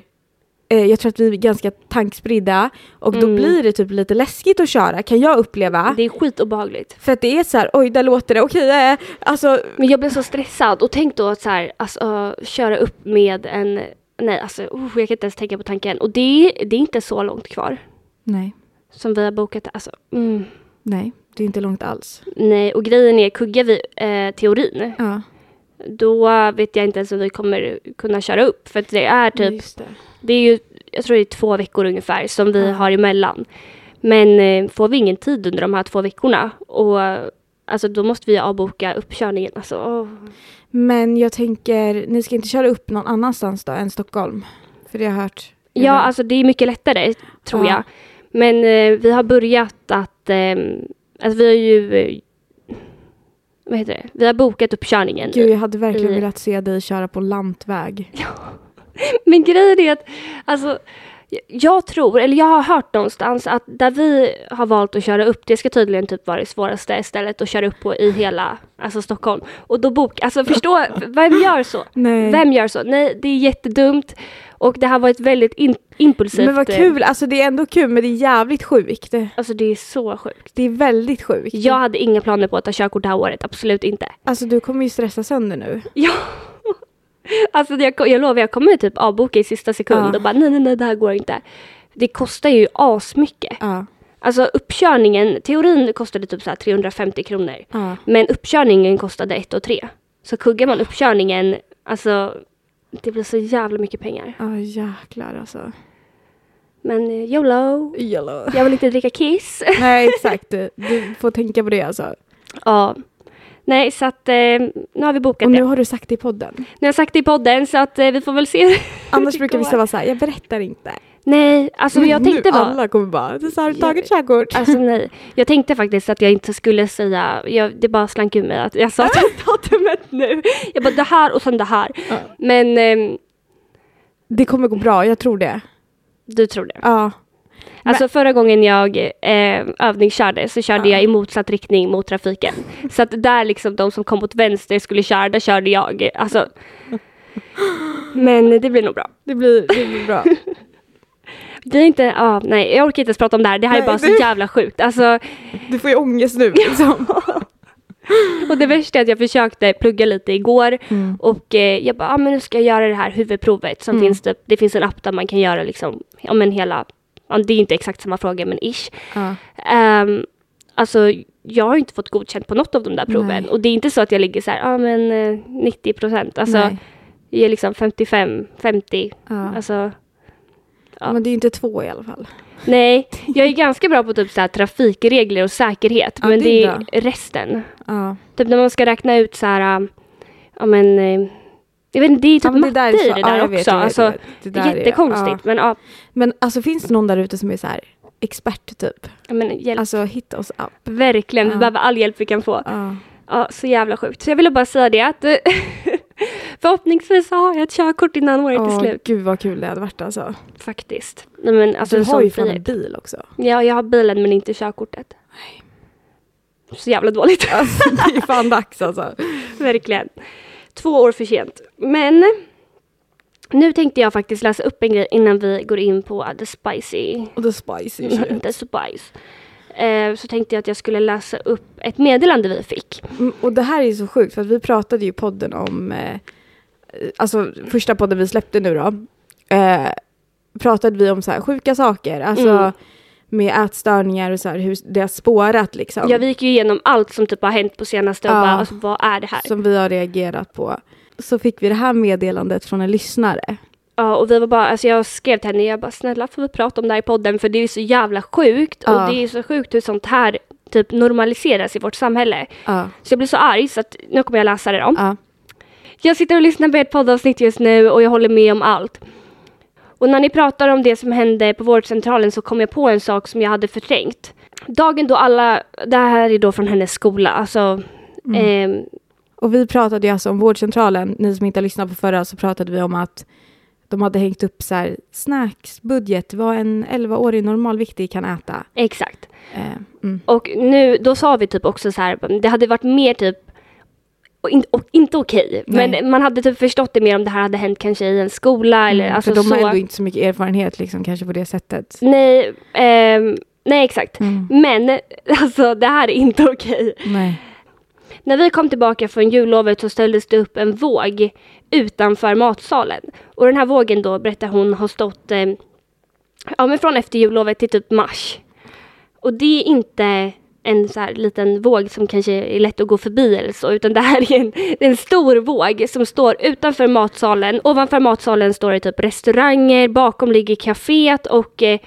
eh, jag tror att vi är ganska tankspridda och då Mm. blir det typ lite läskigt att köra kan jag uppleva. Det är skitobehagligt. För att det är så här, oj där låter det, okej, eh, alltså Men jag blev så stressad och tänk då att så här, alltså, köra upp med en Nej, alltså oh, jag kan inte ens tänka på tanken. Och det, det är inte så långt kvar nej, som vi har bokat. Alltså, mm, nej, det är inte långt alls. nej, och grejen är, kuggar vi eh, teorin, Ja, då vet jag inte ens om vi kommer kunna köra upp. För att det är typ just det. Det är ju, jag tror det är två veckor ungefär som vi Ja. har emellan. Men eh, får vi ingen tid under de här två veckorna och eh, alltså då måste vi avboka uppkörningen. Alltså, åh. Men jag tänker, ni ska inte köra upp någon annanstans då än Stockholm? För det har jag hört. Ja, alltså det är mycket lättare tror Ja. jag. Men eh, vi har börjat att, eh, alltså vi har ju, eh, vad heter det, vi har bokat uppkörningen. Gud, jag hade verkligen i- velat se dig köra på lantväg. Men grejen är att, alltså, jag- jag tror, eller jag har hört någonstans att där vi har valt att köra upp, det ska tydligen typ vara det svåraste stället att köra upp på i hela alltså Stockholm. Och då bok, alltså förstå, vem gör så? Nej. Vem gör så? Nej, det är jättedumt och det har varit väldigt in, impulsivt. eh, Men vad kul, alltså det är ändå kul men det är jävligt sjukt. Alltså det är så sjukt. Det är väldigt sjukt. Jag hade inga planer på att ta körkort det här året, absolut inte. Alltså du kommer ju stressa sönder nu. Ja. *laughs* Alltså jag, jag lovar, jag kommer typ avboka i sista sekund Ja. och bara nej, nej, nej, det här går inte. Det kostar ju asmycket. Ja. Alltså uppkörningen, teorin kostade typ så här 350 kronor. ja. Men uppkörningen kostade 1 och 3. Så kuggar man uppkörningen, alltså det blir så jävla mycket pengar. Ja jäklar alltså. Men eh, YOLO, Yellow. jag vill inte dricka kiss. *laughs* Nej exakt, du får tänka på det alltså. ja. Nej, så att eh, nu har vi bokat Och det. nu Nu har du sagt det i podden. har jag sagt det i podden så att eh, vi får väl se. hur Annars det brukar går. vissa vara såhär, jag berättar inte. Nej, alltså Men jag tänkte nu bara... alla kommer bara, det har Jag- du tagit körkort? Alltså nej, jag tänkte faktiskt att jag inte skulle säga, jag, det bara slank ur mig att jag sa datumet nu. Jag bara det här och sen det här. Ja. Men ehm, Det kommer gå bra, jag tror det. du tror det. Ja. Alltså förra gången jag eh, övningskörde så körde Ja. jag i motsatt riktning mot trafiken. Så att där liksom de som kom åt vänster skulle köra, där körde jag. Alltså. Men det blir nog bra. Det blir, det blir *laughs* bra. Det är inte, ah, nej jag orkar inte ens prata om det här, det här är Nej, bara så det- jävla sjukt. Alltså, Du får ju ångest nu liksom. Och det värsta är att jag försökte plugga lite igår Mm. och eh, jag bara, ah, men nu ska jag göra det här huvudprovet som finns typ, det, det finns en app där man kan göra liksom, ja men hela, ja, det är inte exakt samma fråga men ish. Ja. Ehm, alltså jag har inte fått godkänt på något av de där proven Nej. och det är inte så att jag ligger så här, ja ah, men eh, 90 procent, alltså Nej. jag är liksom 55, 50, Ja. alltså ja. Men det är ju inte två i alla fall. nej, jag är ganska bra på typ så här trafikregler och säkerhet *laughs* Ja, men det är det är resten. Ja. Typ när man ska räkna ut så här, äh, ja men, äh, jag vet inte, det är typ Ja, men matte är i så- det ja, där jag också. vet, jag vet, alltså, jag vet. Det det där är- är jättekonstigt. ja. Men ja, Men alltså finns det någon där ute som är så här expert typ? ja, men hjälp. Alltså hitta oss upp. verkligen, vi ja. behöver all hjälp vi kan få. Ja. Ja, så jävla sjukt. Så jag ville bara säga det att *laughs* eh, förhoppningsvis har jag ett körkort innan året är Åh, slut. gud vad kul det hade varit alltså. Faktiskt. Nej, men alltså du en har ju sån fan en frihet. bil *laughs* också. Ja, jag har bilen men inte körkortet. Så jävla dåligt. Alltså, det är fan dags alltså. Verkligen. Två år för sent. Men nu tänkte jag faktiskt läsa upp en grej innan vi går in på the spicy. Och the *laughs* spicy *laughs* shit. the spice. Eh, så tänkte jag att jag skulle läsa upp ett meddelande vi fick. Mm, Och det här är ju så sjukt för att vi pratade ju i podden om, eh, alltså första podden vi släppte nu då, eh, pratade vi om så här sjuka saker, alltså Mm. med ätstörningar och så här hur det har spårat liksom. Ja, vi gick ju igenom allt som typ har hänt på senaste och Ja. bara, alltså, vad är det här? Som vi har reagerat på. Så fick vi det här meddelandet från en lyssnare. Ja, och vi var bara, alltså jag skrev till henne, jag bara, snälla får vi prata om det här i podden? För det är ju så jävla sjukt Ja. och det är ju så sjukt hur sånt här typ normaliseras i vårt samhälle. Ja. Så jag blev så arg så att nu kommer jag läsa det då. Ja. Jag sitter och lyssnar på ett poddavsnitt just nu och jag håller med om allt. Och när ni pratar om det som hände på vårdcentralen så kom jag på en sak som jag hade förträngt. Dagen då alla, det här är då från hennes skola, alltså Mm. ehm, Och vi pratade ju alltså om vårdcentralen, ni som inte har lyssnat på förra så pratade vi om att de hade hängt upp så här, snacksbudget, vad en 11-årig normalviktig kan äta. exakt. Eh, mm. Och nu, då sa vi typ också så här, det hade varit mer typ och in, och inte okej, Nej. men man hade typ förstått det mer om det här hade hänt kanske i en skola eller Mm, alltså för de så. har ändå inte så mycket erfarenhet liksom, kanske på det sättet. Nej, ehm, nej exakt. Mm. Men alltså det här är inte okej. Nej. När vi kom tillbaka från jullovet så ställdes det upp en våg utanför matsalen. Och den här vågen då, berättar hon, har stått eh, ja, men från efter jullovet till typ mars. Och det är inte en så här liten våg som kanske är lätt att gå förbi eller så, utan det här är en, det är en stor våg som står utanför matsalen. Ovanför matsalen står det typ restauranger, bakom ligger kaféet och eh,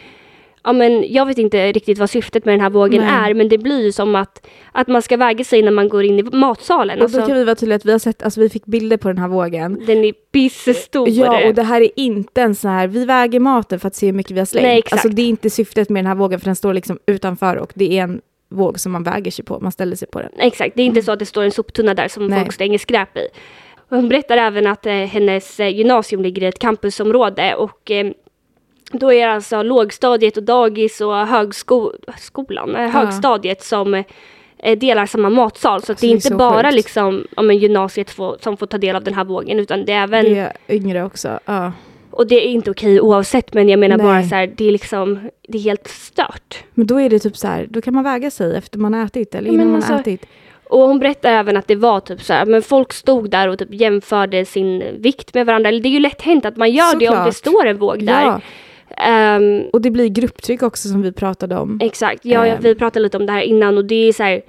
ja, men jag vet inte riktigt vad syftet med den här vågen Nej. är, men det blir ju som att, att man ska väga sig när man går in i matsalen. Och då Alltså, kan vi vara tydliga att vi har sett, alltså vi fick bilder på den här vågen. Den är pissestor. Ja, och det här är inte en sån här, vi väger maten för att se hur mycket vi har slängt. Nej, exakt. Alltså det är inte syftet med den här vågen för den står liksom utanför och det är en våg som man väger sig på, man ställer sig på den. Exakt, det är inte så att det står en soptunna där som Nej. folk slänger skräp i. Och Hon berättar även att eh, hennes eh, gymnasium ligger i ett campusområde och eh, då är det alltså lågstadiet och dagis och högskolan, eh, högstadiet som eh, delar samma matsal. Så att Alltså, det det är är inte så bara sjukt. liksom, om en gymnasiet får, som får ta del av den här vågen utan det är även, Det är yngre också. Ja. och det är inte okej oavsett men jag menar Nej. bara så här, det är liksom, det är helt stört. Men då är det typ så här, då kan man väga sig efter man har ätit eller Ja, men innan man har alltså- ätit. Och hon berättar även att det var typ så här, men folk stod där och typ jämförde sin vikt med varandra. Eller det är ju lätt hänt att man gör det om det Såklart. står en våg där. Ja, Ehm, och det blir grupptryck också som vi pratade om. exakt, ja, ja, Ehm. vi pratade lite om det här innan och det är så här,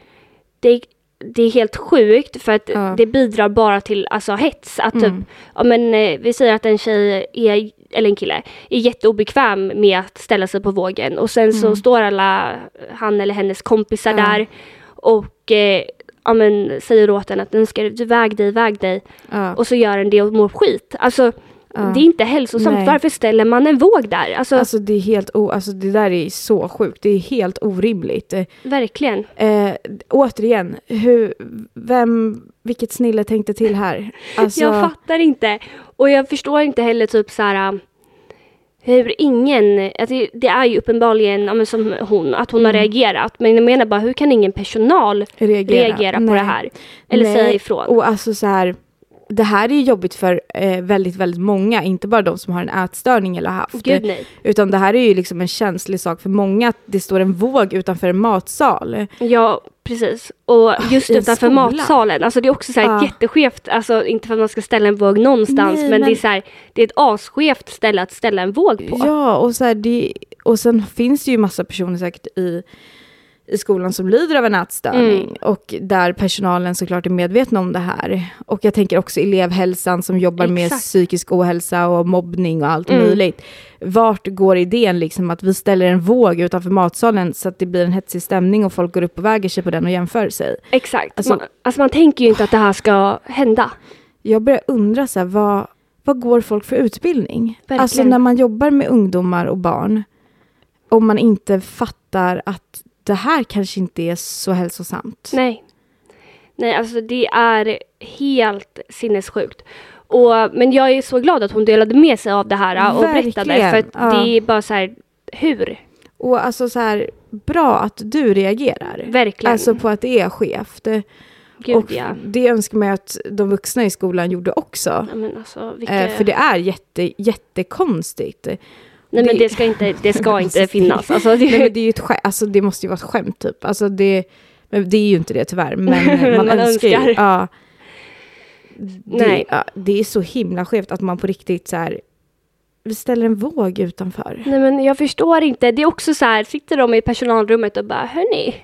det är det är helt sjukt för att Ja. det bidrar bara till alltså, hets. Att Mm. typ, ja, men, eh, vi säger att en tjej, är, eller en kille, är jätteobekväm med att ställa sig på vågen och sen så står alla han eller hennes kompisar Mm. Ja. där och eh, ja, men, säger åt en att den ska, du väg dig, väg dig Ja. och så gör den det och mår skit. Alltså, det är inte hälsosamt. Nej. Varför ställer man en våg där? Alltså, Alltså det är helt o- alltså, det där är så sjukt. Det är helt orimligt. Eh, verkligen. Eh, återigen, hur, vem, vilket snille tänkte till här? Alltså, Jag fattar inte. Och jag förstår inte heller typ så här äh, hur ingen, att det, det är ju uppenbarligen ja, men som hon, att hon har Mm. reagerat. Men jag menar bara hur kan ingen personal reagera, reagera på Nej. det här? Eller Nej. säga ifrån? Och alltså så här, det här är ju jobbigt för eh, väldigt, väldigt många, inte bara de som har en ätstörning eller har haft. Gud nej. Utan det här är ju liksom en känslig sak för många, att det står en våg utanför en matsal. Ja, precis. Och just Ah, i en utanför skola. matsalen, alltså det är också så här Ja. jätteskevt, alltså inte för att man ska ställa en våg någonstans, Nej, men, det är men- så här, det är ett asskevt ställe att ställa en våg på. Ja, och, så här, det, och sen finns det ju massa personer säkert i, i skolan som lider av en ätstörning Mm. och där personalen såklart är medvetna om det här. Och jag tänker också elevhälsan som jobbar med Exakt. psykisk ohälsa och mobbning och allt Mm. möjligt. Vart går idén liksom att vi ställer en våg utanför matsalen så att det blir en hetsig stämning och folk går upp och väger sig på den och jämför sig? Exakt. Alltså- man, alltså man tänker ju inte att det här ska hända. Jag börjar undra så här, vad, vad går folk för utbildning? Verkligen. Alltså när man jobbar med ungdomar och barn, om man inte fattar att det här kanske inte är så hälsosamt. Nej. Nej, alltså det är helt sinnessjukt. Och, men jag är så glad att hon delade med sig av det här och berättade. Verkligen, För att ja. det är bara så här, hur? Och alltså så här, bra att du reagerar. Verkligen. Alltså på att det är skevt. Gud och ja. det önskar man ju att de vuxna i skolan gjorde också. ja men alltså, vilka... Eh, för det är jätte, jättekonstigt. Nej men det- det ska inte, det *laughs* ska inte Alltså, finnas. Alltså, det... Nej, men det, är ju ett skämt. Alltså, det måste ju vara ett skämt typ. Alltså, det, men det är ju inte det tyvärr. *laughs* Men man, Man önskar önskar. ju. Ja, det, Nej. Ja, det är så himla skevt att man på riktigt så här, vi ställer en våg utanför. Nej men jag förstår inte. Det är också så här, sitter de i personalrummet och bara, hörni,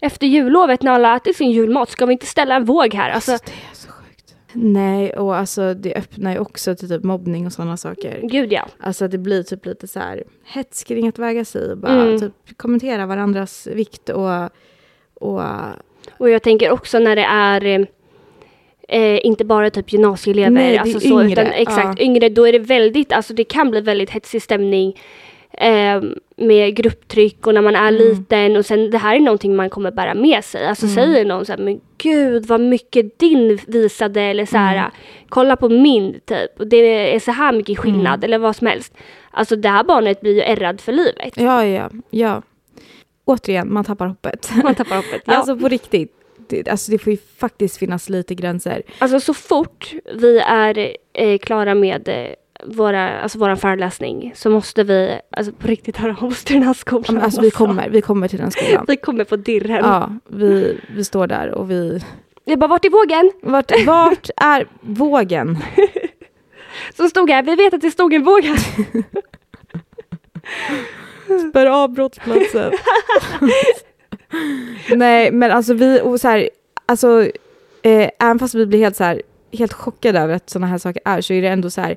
efter jullovet när alla ätit sin julmat, ska vi inte ställa en våg här? Alltså, det är så sjukt. Nej, och alltså, det öppnar ju också till typ mobbning och sådana saker. gud ja. Alltså att det blir typ lite så här hets kring att väga sig och bara Mm. typ, kommentera varandras vikt och, och Och jag tänker också när det är eh, eh, inte bara typ gymnasieelever, Nej, det är alltså så, yngre, utan exakt yngre, då är det väldigt, alltså det kan bli väldigt hetsig stämning eh, med grupptryck och när man är Mm. liten och sen det här är någonting man kommer bära med sig. Alltså säger någon så här, men gud vad mycket din visade eller så här, Mm. kolla på min typ, och det är så här mycket skillnad Mm. eller vad som helst. Alltså det här barnet blir ju ärrad för livet. ja, ja, ja. Återigen, man tappar hoppet. *laughs* Man tappar hoppet. Ja. Alltså på riktigt. Det, alltså det får ju faktiskt finnas lite gränser. Alltså så fort vi är eh, klara med eh, våra, alltså våran föreläsning så måste vi alltså, på riktigt höra av oss till den här Ja, skolan. men Alltså vi kommer, vi kommer till den *laughs* skolan. Vi kommer på dirren. Ja, vi, vi står där och vi... Jag bara, vart är vågen? Vart, vart är vågen? Som stod här, vi vet att det stod en våg här. Spär av brottsplatsen. *laughs* Nej, men alltså vi... Och så här, alltså, eh, även fast vi blir helt, så här, helt chockade över att sådana här saker är så är det ändå så här...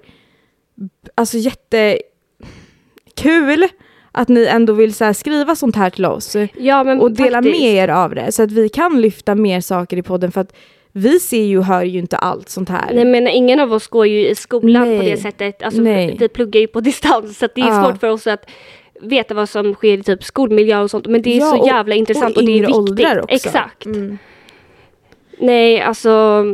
Alltså jättekul att ni ändå vill så här, skriva sånt här till oss. *laughs* Ja, men och dela faktiskt. med er av det så att vi kan lyfta mer saker i podden för att vi ser ju och hör ju inte allt sånt här. Nej men ingen av oss går ju i skolan på Nej. det sättet. Alltså, Nej. Vi pluggar ju på *laughs* distans så att det är Ja. svårt för oss att veta vad som sker i typ skolmiljö och sånt. Men det är Ja, så och- jävla intressant och, det är yngre viktigt. åldrar också. Exakt. Mm. Nej, alltså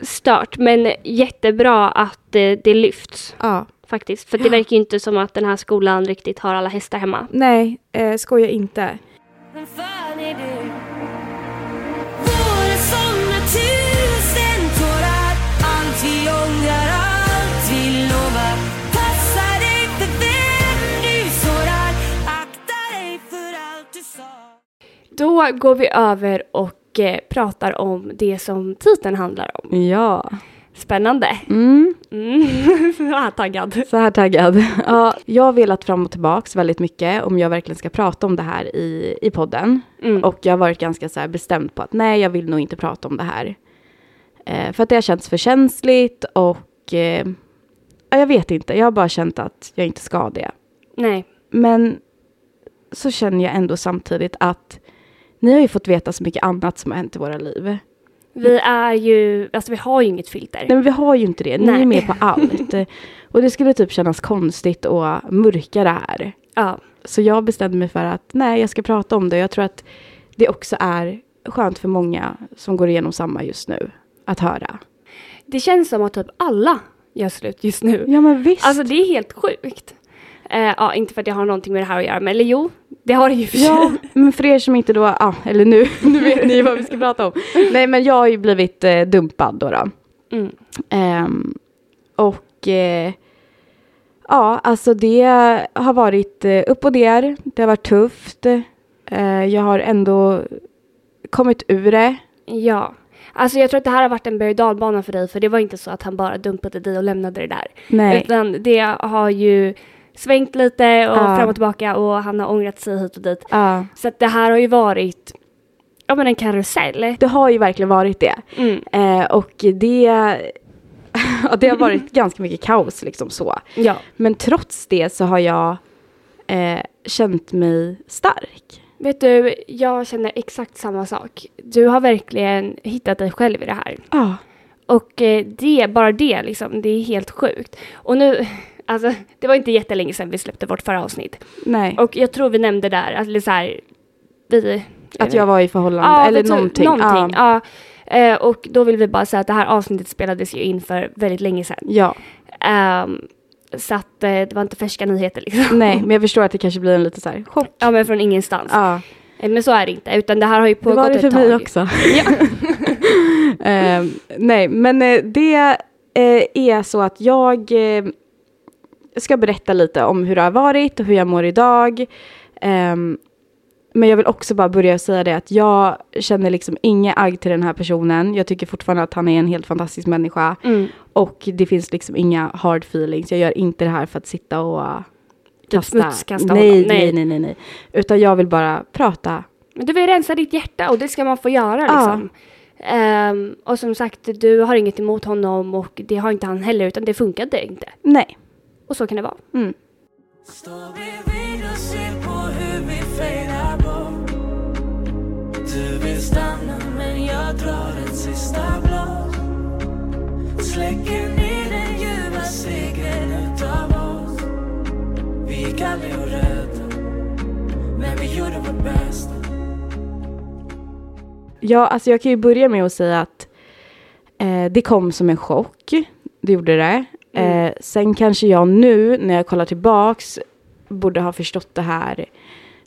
stört. Men jättebra att eh, det lyfts Ja, faktiskt. För det verkar ju inte som att den här skolan riktigt har alla hästar hemma. nej, eh, skoja inte. Vem fan är du? Våren somnar tusen tårar Allt vi ångrar, allt vi lovar Passa dig för vem du sårar Akta dig för allt du sa Då går vi över och eh, pratar om det som titeln handlar om. Ja. Spännande. Mm. Mm. ah, taggad. Så här taggad. *laughs* Ja, jag har velat fram och tillbaks väldigt mycket om jag verkligen ska prata om det här i, i podden. Mm. Och jag har varit ganska så här bestämd på att nej, jag vill nog inte prata om det här. Eh, för att det har känts för känsligt och eh, ja, jag vet inte. Jag har bara känt att jag inte ska det. Nej. Men så känner jag ändå samtidigt att ni har ju fått veta så mycket annat som har hänt i våra liv. Nej, Vi är ju, alltså vi har ju inget filter. men vi har ju inte det. Ni Nej. är med på *laughs* allt. och det skulle typ kännas konstigt att mörka det här. Ja. Så jag bestämde mig för att nej, jag ska prata om det. Jag tror att det också är skönt för många som går igenom samma just nu att höra. Det känns som att typ alla gör slut just nu. Ja, men visst. *laughs* Alltså det är helt sjukt. Eh, ja, inte för att jag har någonting med det här att göra, men eller jo, det har det ju för sig. Ja, men för er som inte då, ah, eller nu, *laughs* nu vet ni vad vi ska prata *laughs* om. Nej, men jag har ju blivit eh, dumpad då. då. Mm. Ehm, och eh, ja, alltså det har varit eh, upp och ner. Det har varit tufft. Eh, jag har ändå kommit ur det. ja. Alltså jag tror att det här har varit en berg och dalbana för dig, för det var inte så att han bara dumpade dig och lämnade det där. Nej. Utan det har ju svängt lite och Ja. fram och tillbaka och han har ångrat sig hit och dit. Ja. Så att det här har ju varit, ja men en karusell. Det har ju verkligen varit det. Mm. Eh, och det, *laughs* ja, det *laughs* har varit ganska mycket kaos liksom så. Ja. Men trots det så har jag eh, känt mig stark. Vet du, jag känner exakt samma sak. Du har verkligen hittat dig själv i det här. Ja. Och eh, det, bara det liksom, det är helt sjukt. Och nu, *laughs* alltså det var inte jättelänge sedan vi släppte vårt förra avsnitt. Nej. Och jag tror vi nämnde där, alltså så här, vi... att jag var i förhållande Ja, eller vi tror- någonting. någonting, ja. Ja. Eh, och då vill vi bara säga att det här avsnittet spelades ju in för väldigt länge sedan. ja. Ehm, så att eh, det var inte färska nyheter liksom. Nej, men jag förstår att det kanske blir en lite så här chock. *laughs* Ja men från ingenstans. Ja. Eh, Men så är det inte, utan det här har ju Det pågått var det för ett tag. mig *laughs* också. *laughs* Ja. Eh, nej, men eh, det eh, är så att jag eh, ska berätta lite om hur det har varit och hur jag mår idag. Ehm, men jag vill också bara börja säga det att jag känner liksom inget agg till den här personen. Jag tycker fortfarande att han är en helt fantastisk människa. Mm. Och det finns liksom inga hard feelings. Jag gör inte det här för att sitta och uh, kasta. smutskasta nej, honom. Nej. nej, nej, nej, nej. Utan jag vill bara prata. Men du vill rensa ditt hjärta och det ska man få göra Ja. liksom. Ehm, och som sagt, du har inget emot honom och det har inte han heller, utan det funkade inte. Nej. Och så kan det vara. Mm. Står bredvid och ser på hur vi fejdar bort Du vill stanna men jag drar ett sista blås Släcker ner den ljuva segern utav oss Vi gick aldrig att rädda men vi gjorde vårt bästa Ja, alltså jag kan ju börja med att säga att eh, det kom som en chock. Det gjorde det. Mm. Eh, sen kanske jag nu, när jag kollar tillbaks, borde ha förstått det här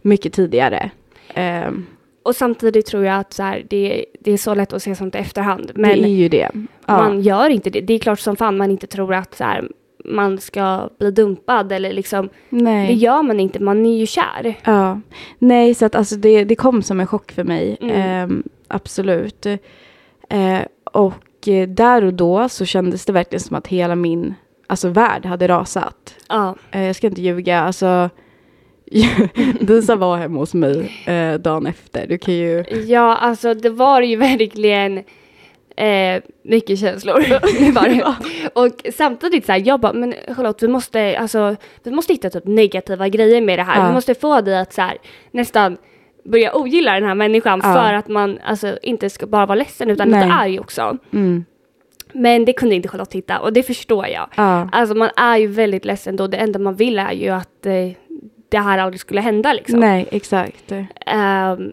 mycket tidigare. Ehm, Och samtidigt tror jag att så här, det, det är så lätt att se sånt i efterhand. det är Men ju det. Ja. man gör inte det. Det är klart som fan man inte tror att så här, man ska bli dumpad eller liksom. nej. Det gör man inte, man är ju kär. Ja. Nej, så att alltså det, det kom som en chock för mig. Mm. Ehm, absolut. Eh, och eh, där och då så kändes det verkligen som att hela min alltså, värld hade rasat. Ja. Eh, jag ska inte ljuga, alltså. *laughs* Disa var hemma hos mig eh, dagen efter. Du kan ju... ja, alltså det var ju *laughs* verkligen eh, mycket känslor. *laughs* *laughs* det var det. Och samtidigt så här, jag bara, men Charlotte, vi måste, alltså, vi måste hitta typ negativa grejer med det här. Ja. Vi måste få dig att så här, nästan börja ogilla den här människan Ja. för att man alltså, inte ska bara vara ledsen utan lite Nej. arg också. Mm. Men det kunde inte Charlotte hitta och det förstår jag. Ja. Alltså man är ju väldigt ledsen då, det enda man vill är ju att eh, det här aldrig skulle hända liksom. Nej, exakt. Ehm,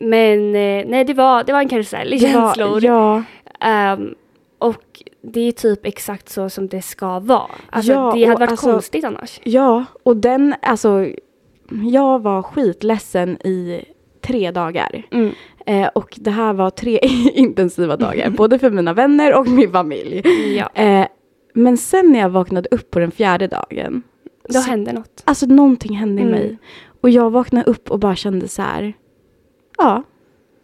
men eh, nej, det var, det var en karusell i känslor. Ja, Ehm, och det är typ exakt så som det ska vara. Alltså, Ja, det hade och varit alltså- konstigt annars. ja, och den, alltså. Jag var skitledsen i tre dagar. Mm. Eh, och det här var tre *laughs* intensiva *laughs* dagar, både för mina vänner och min familj. Ja, Eh, men sen när jag vaknade upp på den fjärde dagen, då så- hände något. alltså någonting hände Mm. i mig. Och jag vaknade upp och bara kände så här, ja,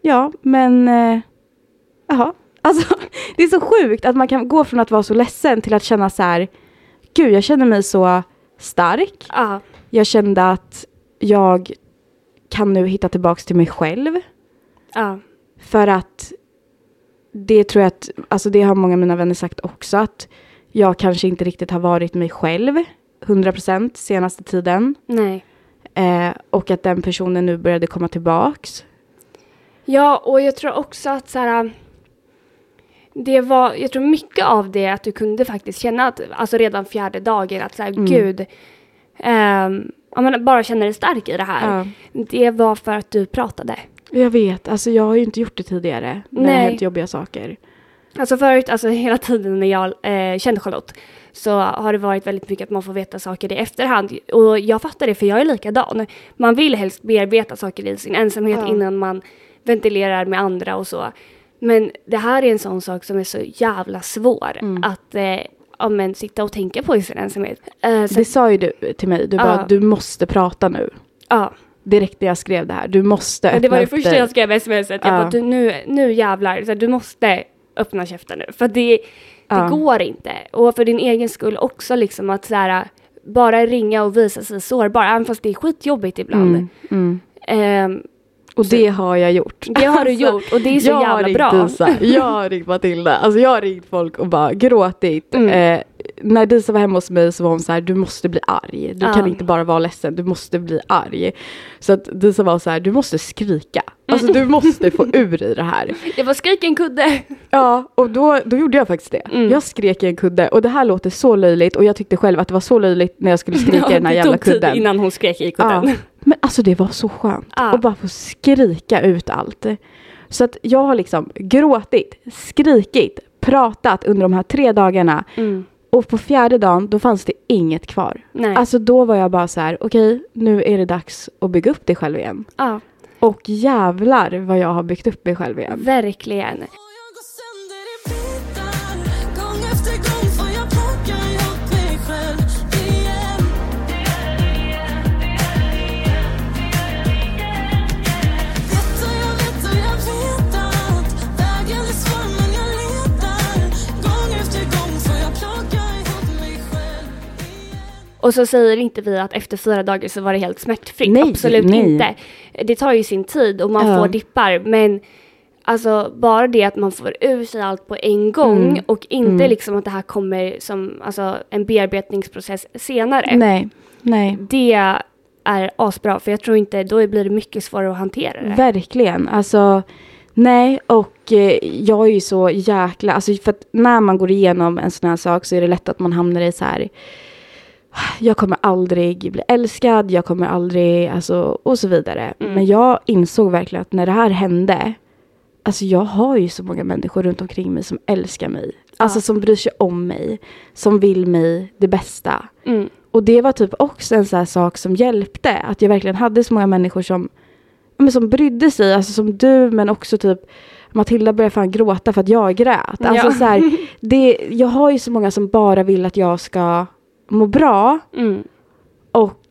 ja, men, eh, jaha. Alltså, *laughs* det är så sjukt att man kan gå från att vara så ledsen till att känna så här, gud jag känner mig så stark. Ja. Jag kände att jag kan nu hitta tillbaks till mig själv. Ja. För att det tror jag att, alltså det har många av mina vänner sagt också att jag kanske inte riktigt har varit mig själv 100% senaste tiden. Nej. Eh, och att den personen nu började komma tillbaks. Ja, och jag tror också att så här, um, det var, jag tror mycket av det att du kunde faktiskt känna att, alltså redan fjärde dagen, att så här, gud, ehm, om man bara känner dig stark i det här. Det var för att du pratade. Jag vet, alltså jag har ju inte gjort det tidigare. När det har Nej. hänt jobbiga saker. Alltså förut, alltså hela tiden när jag eh, kände Charlotte, så har det varit väldigt mycket att man får veta saker i efterhand. Och jag fattar det, för jag är likadan. Man vill helst bearbeta saker i sin ensamhet innan man ventilerar med andra och så. Men det här är en sån sak som är så jävla svår att eh, ja, men, sitta och tänka på i sin ensamhet. Eh, så, Det sa ju du till mig, du bara Ja. du måste prata nu. ja. Direkt när jag skrev det här, du måste Men det var öppna det upp första dig. jag skrev i smset. Jag Ja. bara, du, nu, nu jävlar, så här, du måste öppna käften nu. För det, det Ja. går inte. Och för din egen skull också, liksom att så här, bara ringa och visa sig sårbar, även fast det är skitjobbigt ibland. Mm, mm. Ehm, Och det har jag gjort. det har du *laughs* gjort och det är så Alltså, jag har jävla ringt bra. Disa, *laughs* jag har ringt Matilda, alltså jag har ringt folk och bara gråtit. Mm. Eh, när Disa var hemma hos mig så var hon så här, du måste bli arg. Du Ja. kan inte bara vara ledsen, du måste bli arg. Så att Disa var så här, du måste skrika. Alltså du *laughs* måste få ur i det här. Jag bara, skrik en kudde. Ja, och då, då gjorde jag faktiskt det. Mm. Jag skrek i en kudde och det här låter så löjligt och jag tyckte själv att det var så löjligt när jag *laughs* skulle skrika i den här det jävla tog tid kudden. innan hon skrek i Ja. kudden. Men alltså det var så skönt Ja. att bara få skrika ut allt. Så att jag har liksom gråtit, skrikit, pratat under de här tre dagarna Mm. och på fjärde dagen då fanns det inget kvar. Nej. Alltså då var jag bara så här, okej nu är det dags att bygga upp dig själv igen. Ja, Och jävlar vad jag har byggt upp mig själv igen. verkligen. Och jag går sönder i bitar. Gång efter gång får jag plocka upp mig själv igen. Vet och jag vet och jag vet att vägen är svår men jag letar. Gång efter gång får jag plocka ihop mig själv igen. Och så säger inte vi att efter fyra dagar så var det helt smärtfritt. Nej, Absolut nej. inte. Det tar ju sin tid och man Ja. får dippar. Men alltså bara det att man får ur sig allt på en gång Mm. och inte Mm. liksom att det här kommer som alltså, en bearbetningsprocess senare. Nej, nej. Det är asbra för jag tror inte, då blir det mycket svårare att hantera det. Verkligen. Alltså, nej, och eh, jag är ju så jäkla... Alltså, för att när man går igenom en sån här sak så är det lätt att man hamnar i så här... Jag kommer aldrig bli älskad, jag kommer aldrig... Alltså, och så vidare. Mm. Men jag insåg verkligen att när det här hände... Alltså jag har ju så många människor runt omkring mig som älskar mig. Alltså Ja. som bryr sig om mig. Som vill mig det bästa. Mm. Och det var typ också en sån här sak som hjälpte. Att jag verkligen hade så många människor som, ja, men som brydde sig. Alltså som du, men också typ Matilda började fan gråta för att jag grät. Alltså Ja. så här, det, jag har ju så många som bara vill att jag ska må bra. Mm. Och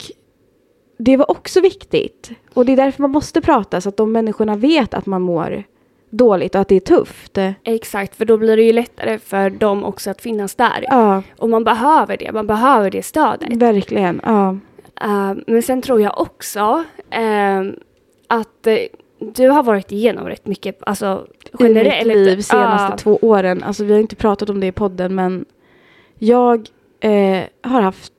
det var också viktigt. Och det är därför man måste prata så att de människorna vet att man mår dåligt och att det är tufft. Exakt, för då blir det ju lättare för dem också att finnas där. Ja, Och man behöver det, man behöver det stödet. verkligen. Ja. Eh, men sen tror jag också eh, att eh, du har varit igenom rätt mycket, alltså eh, i mitt liv senaste Ja, två åren. Alltså vi har inte pratat om det i podden men jag eh, har haft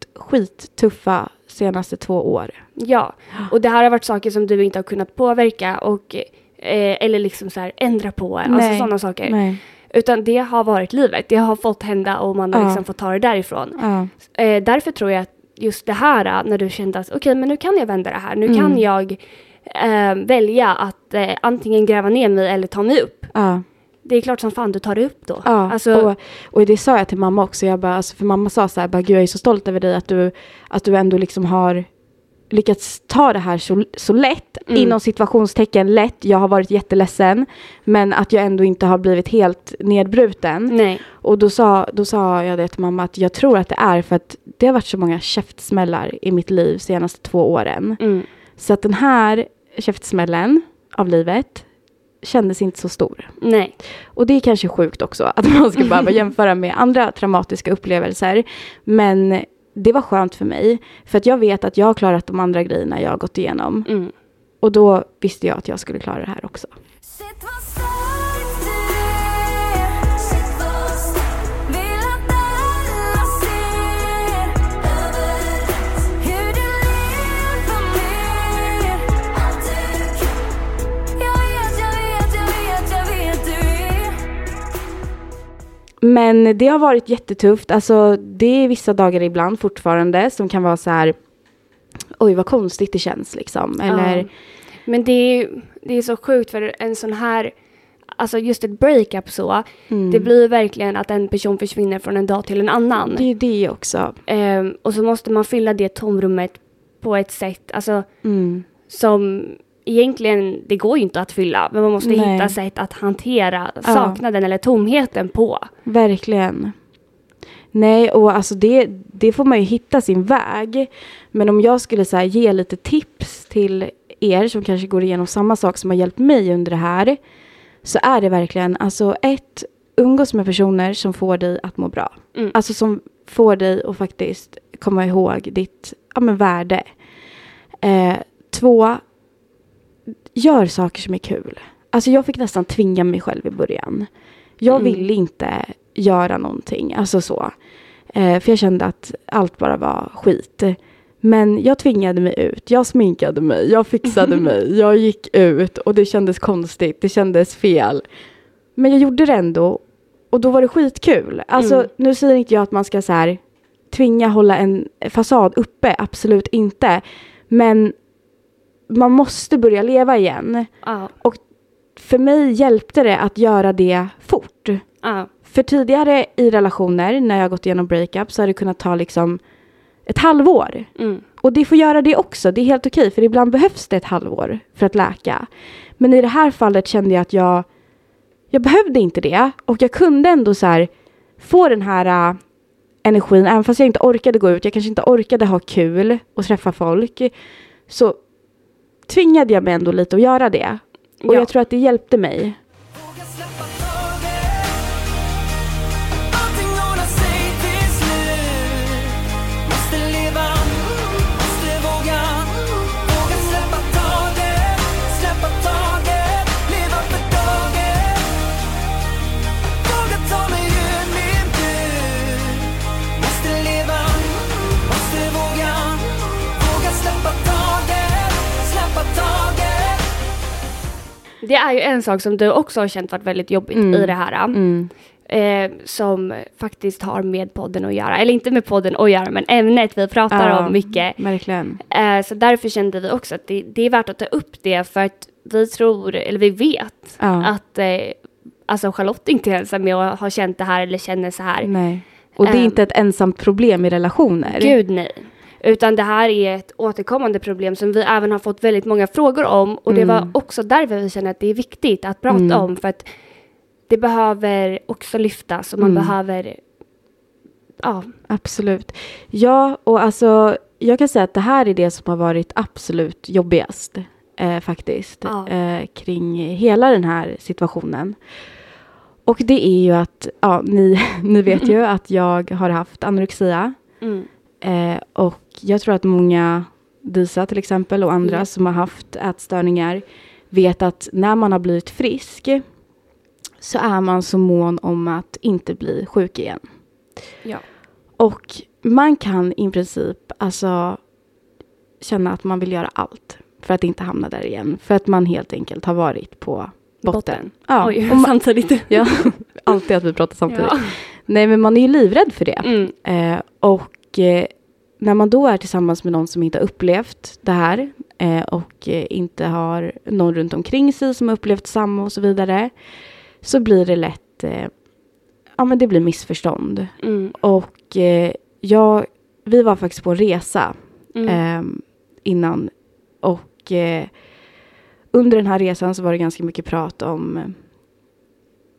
skittuffa senaste två år. Ja, och det här har varit saker som du inte har kunnat påverka och eh, eller liksom så här ändra på, alltså Nej. sådana saker. Nej. Utan det har varit livet, det har fått hända och man har Ja. liksom fått ta det därifrån. Ja. Eh, därför tror jag att just det här eh, när du kände att okej, men nu kan jag vända det här. Nu Mm. kan jag eh, välja att eh, antingen gräva ner mig eller ta mig upp. Ja. Det är klart som fan du tar dig upp då. Ja. Alltså, och, och det sa jag till mamma också. Jag bara, alltså, för mamma sa så här, bara, Gud, jag är så stolt över dig att du, att du ändå liksom har lyckats ta det här så, så lätt, Mm. inom situationstecken lätt, jag har varit jätteledsen, men att jag ändå inte har blivit helt nedbruten. nej. Och då sa, då sa jag det till mamma att jag tror att det är för att det har varit så många käftsmällar i mitt liv senaste två åren. Mm. Så att den här käftsmällen av livet, kändes inte så stor. Nej. Och det är kanske sjukt också att *laughs* man ska behöva jämföra med andra traumatiska upplevelser. Men det var skönt för mig. För att jag vet att jag har klarat de andra grejerna jag har gått igenom. Mm. Och då visste jag att jag skulle klara det här också. Shit vad stark du är, shit vad stark Vill att alla ser överallt Hur du lever mer, allt du kan Jag vet, jag vet, jag vet, jag vet du är Men det har varit jättetufft. Alltså, det är vissa dagar ibland fortfarande som kan vara så här. Oj, vad konstigt det känns liksom. Eller, Men det är ju det är så sjukt för en sån här, alltså just ett breakup så, Mm. det blir ju verkligen att en person försvinner från en dag till en annan. Det är ju det också. Ehm, och så måste man fylla det tomrummet på ett sätt, alltså Mm. som egentligen, det går ju inte att fylla, men man måste Nej. hitta sätt att hantera saknaden eller tomheten på. Verkligen. Nej, och alltså det, det får man ju hitta sin väg. Men om jag skulle så här ge lite tips till er som kanske går igenom samma sak som har hjälpt mig under det här. Så är det verkligen, alltså ett, umgås med personer som får dig att må bra. Mm. Alltså som får dig att faktiskt komma ihåg ditt ja, men värde. Eh, två, gör saker som är kul. Alltså jag fick nästan tvinga mig själv i början. Jag ville inte göra någonting, alltså så. Eh, för jag kände att allt bara var skit. Men jag tvingade mig ut, jag sminkade mig, jag fixade mig, jag gick ut och det kändes konstigt, det kändes fel. Men jag gjorde det ändå och då var det skitkul. Alltså Mm. nu säger inte jag att man ska så här tvinga hålla en fasad uppe, absolut inte. Men man måste börja leva igen. Ja, För mig hjälpte det att göra det fort. ja, För tidigare i relationer, när jag gått igenom breakup, så har det kunnat ta liksom ett halvår. mm, Och det får göra det också, det är helt okej, för ibland behövs det ett halvår för att läka. Men i det här fallet kände jag att jag, jag behövde inte det. Och jag kunde ändå så här, få den här äh, energin, även fast jag inte orkade gå ut, jag kanske inte orkade ha kul och träffa folk, så tvingade jag mig ändå lite att göra det. Och Ja. jag tror att det hjälpte mig. Våga släppa taget Allting ordnar sig till slut Måste leva, måste våga Våga släppa taget, släppa taget Leva för dagen Våga ta mig ur min bur Måste leva, måste våga Våga släppa taget, släppa taget Det är ju en sak som du också har känt varit väldigt jobbigt Mm. i det här. Eh, som faktiskt har med podden att göra. Eller inte med podden att göra, men ämnet vi pratar Ja. om mycket. Verkligen. Eh, så därför kände vi också att det, det är värt att ta upp det för att vi tror, eller vi vet, Ja. att eh, alltså Charlotte inte ens är med och har känt det här eller känner så här. Nej. Och det är Ehm. inte ett ensamt problem i relationer. Gud nej. Utan det här är ett återkommande problem som vi även har fått väldigt många frågor om och det Mm. var också därför vi känner att det är viktigt att prata om för att det behöver också lyftas och man Mm. behöver ja, Absolut. Ja, och alltså jag kan säga att det här är det som har varit absolut jobbigast eh, faktiskt Ja. eh, kring hela den här situationen. Och det är ju att, ja, ni, *laughs* ni vet ju att jag har haft anorexia mm, eh, och jag tror att många, Disa till exempel och andra Ja. som har haft ätstörningar vet att när man har blivit frisk så är man så mån om att inte bli sjuk igen. ja. Och man kan i princip alltså, känna att man vill göra allt för att inte hamna där igen. För att man helt enkelt har varit på botten. Ja, Oj, och man, samtidigt. *laughs* ja, alltid att vi pratar samtidigt. Ja. Nej, men man är ju livrädd för det. Mm, Eh, och eh, när man då är tillsammans med någon som inte har upplevt det här eh, och eh, inte har någon runt omkring sig som har upplevt samma och så vidare så blir det lätt eh, ja, men det blir missförstånd. mm, Och eh, jag, vi var faktiskt på en resa mm, ehm, innan. Och eh, under den här resan så var det ganska mycket prat om eh,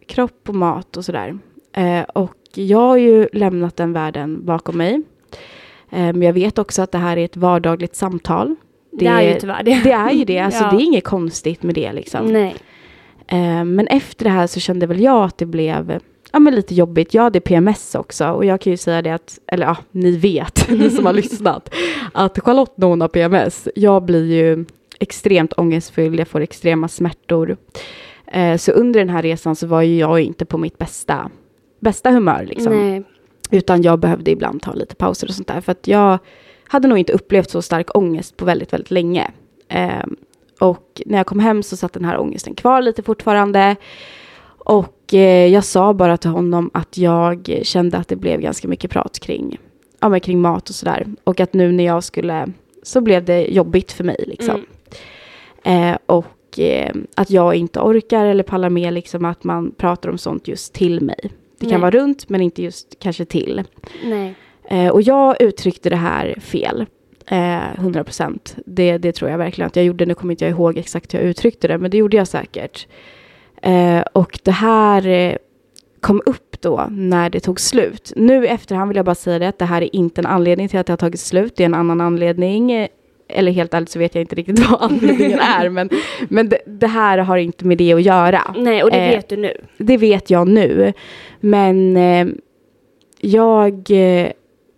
kropp och mat och sådär. Eh, och jag har ju lämnat den världen bakom mig. Eh, men jag vet också att det här är ett vardagligt samtal. det, är ju tyvärr det. *laughs* Det är ju det, alltså Ja. det är inget konstigt med det liksom. Nej. Eh, men efter det här så kände väl jag att det blev ja, men lite jobbigt. Jag hade PMS också och jag kan ju säga det att, eller ja, ni vet, *laughs* ni som har lyssnat, att Charlotte när hon har PMS, jag blir ju extremt ångestfylld, jag får extrema smärtor. Eh, så under den här resan så var ju jag inte på mitt bästa, bästa humör liksom. Nej. Utan jag behövde ibland ta lite pauser och sånt där. För att jag hade nog inte upplevt så stark ångest på väldigt, väldigt länge. Ehm, och när jag kom hem så satt den här ångesten kvar lite fortfarande. Och eh, jag sa bara till honom att jag kände att det blev ganska mycket prat kring, ja, men kring mat och sådär. Och att nu när jag skulle, så blev det jobbigt för mig liksom. Mm. Eh, och eh, att jag inte orkar eller pallar med liksom att man pratar om sånt just till mig. Det kan Nej. vara runt men inte just kanske till. Nej. Eh, och jag uttryckte det här fel. Eh, 100 procent. Det, det tror jag verkligen att jag gjorde. Nu kommer inte jag ihåg exakt hur jag uttryckte det, men det gjorde jag säkert. Eh, och det här eh, kom upp då när det tog slut. Nu i efterhand vill jag bara säga det att det här är inte en anledning till att det har tagit slut. Det är en annan anledning. Eh, Eller helt ärligt så vet jag inte riktigt *laughs* vad anledningen är. Men, men det, det här har inte med det att göra Nej, och det Eh, vet du nu. det vet jag nu. Men eh, jag eh,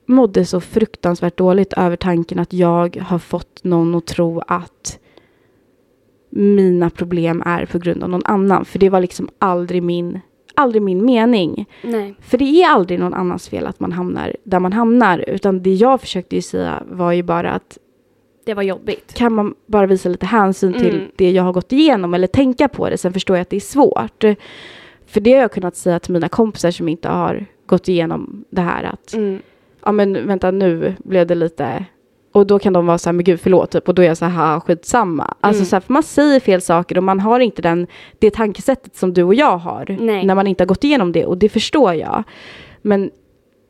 mådde så fruktansvärt dåligt över tanken att jag har fått någon att tro att mina problem är på grund av någon annan. För det var liksom aldrig min, aldrig min mening. Nej. För det är aldrig någon annans fel att man hamnar där man hamnar. Utan det jag försökte ju säga var ju bara att Det var jobbigt. kan man bara visa lite hänsyn Mm. till det jag har gått igenom eller tänka på det. Sen förstår jag att det är svårt. För det har jag kunnat säga till mina kompisar som inte har gått igenom det här att Mm. ja men vänta nu blev det lite och då kan de vara så här, men gud förlåt, typ. och då är jag så här, "Ha, skitsamma. Alltså Mm. så här, för man säger fel saker och man har inte den, det tankesättet som du och jag har. Nej. När man inte har gått igenom det och det förstår jag. Men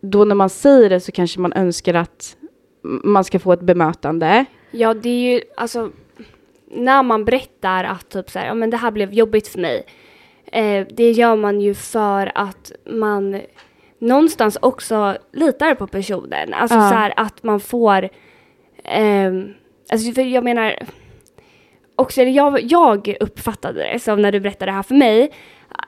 då när man säger det så kanske man önskar att m- man ska få ett bemötande. Ja, det är ju alltså när man berättar att typ så här, ja men det här blev jobbigt för mig. Eh, det gör man ju för att man någonstans också litar på personen. Alltså Ja. så här att man får, ehm, alltså för jag menar, också eller jag, jag uppfattade det som när du berättade det här för mig,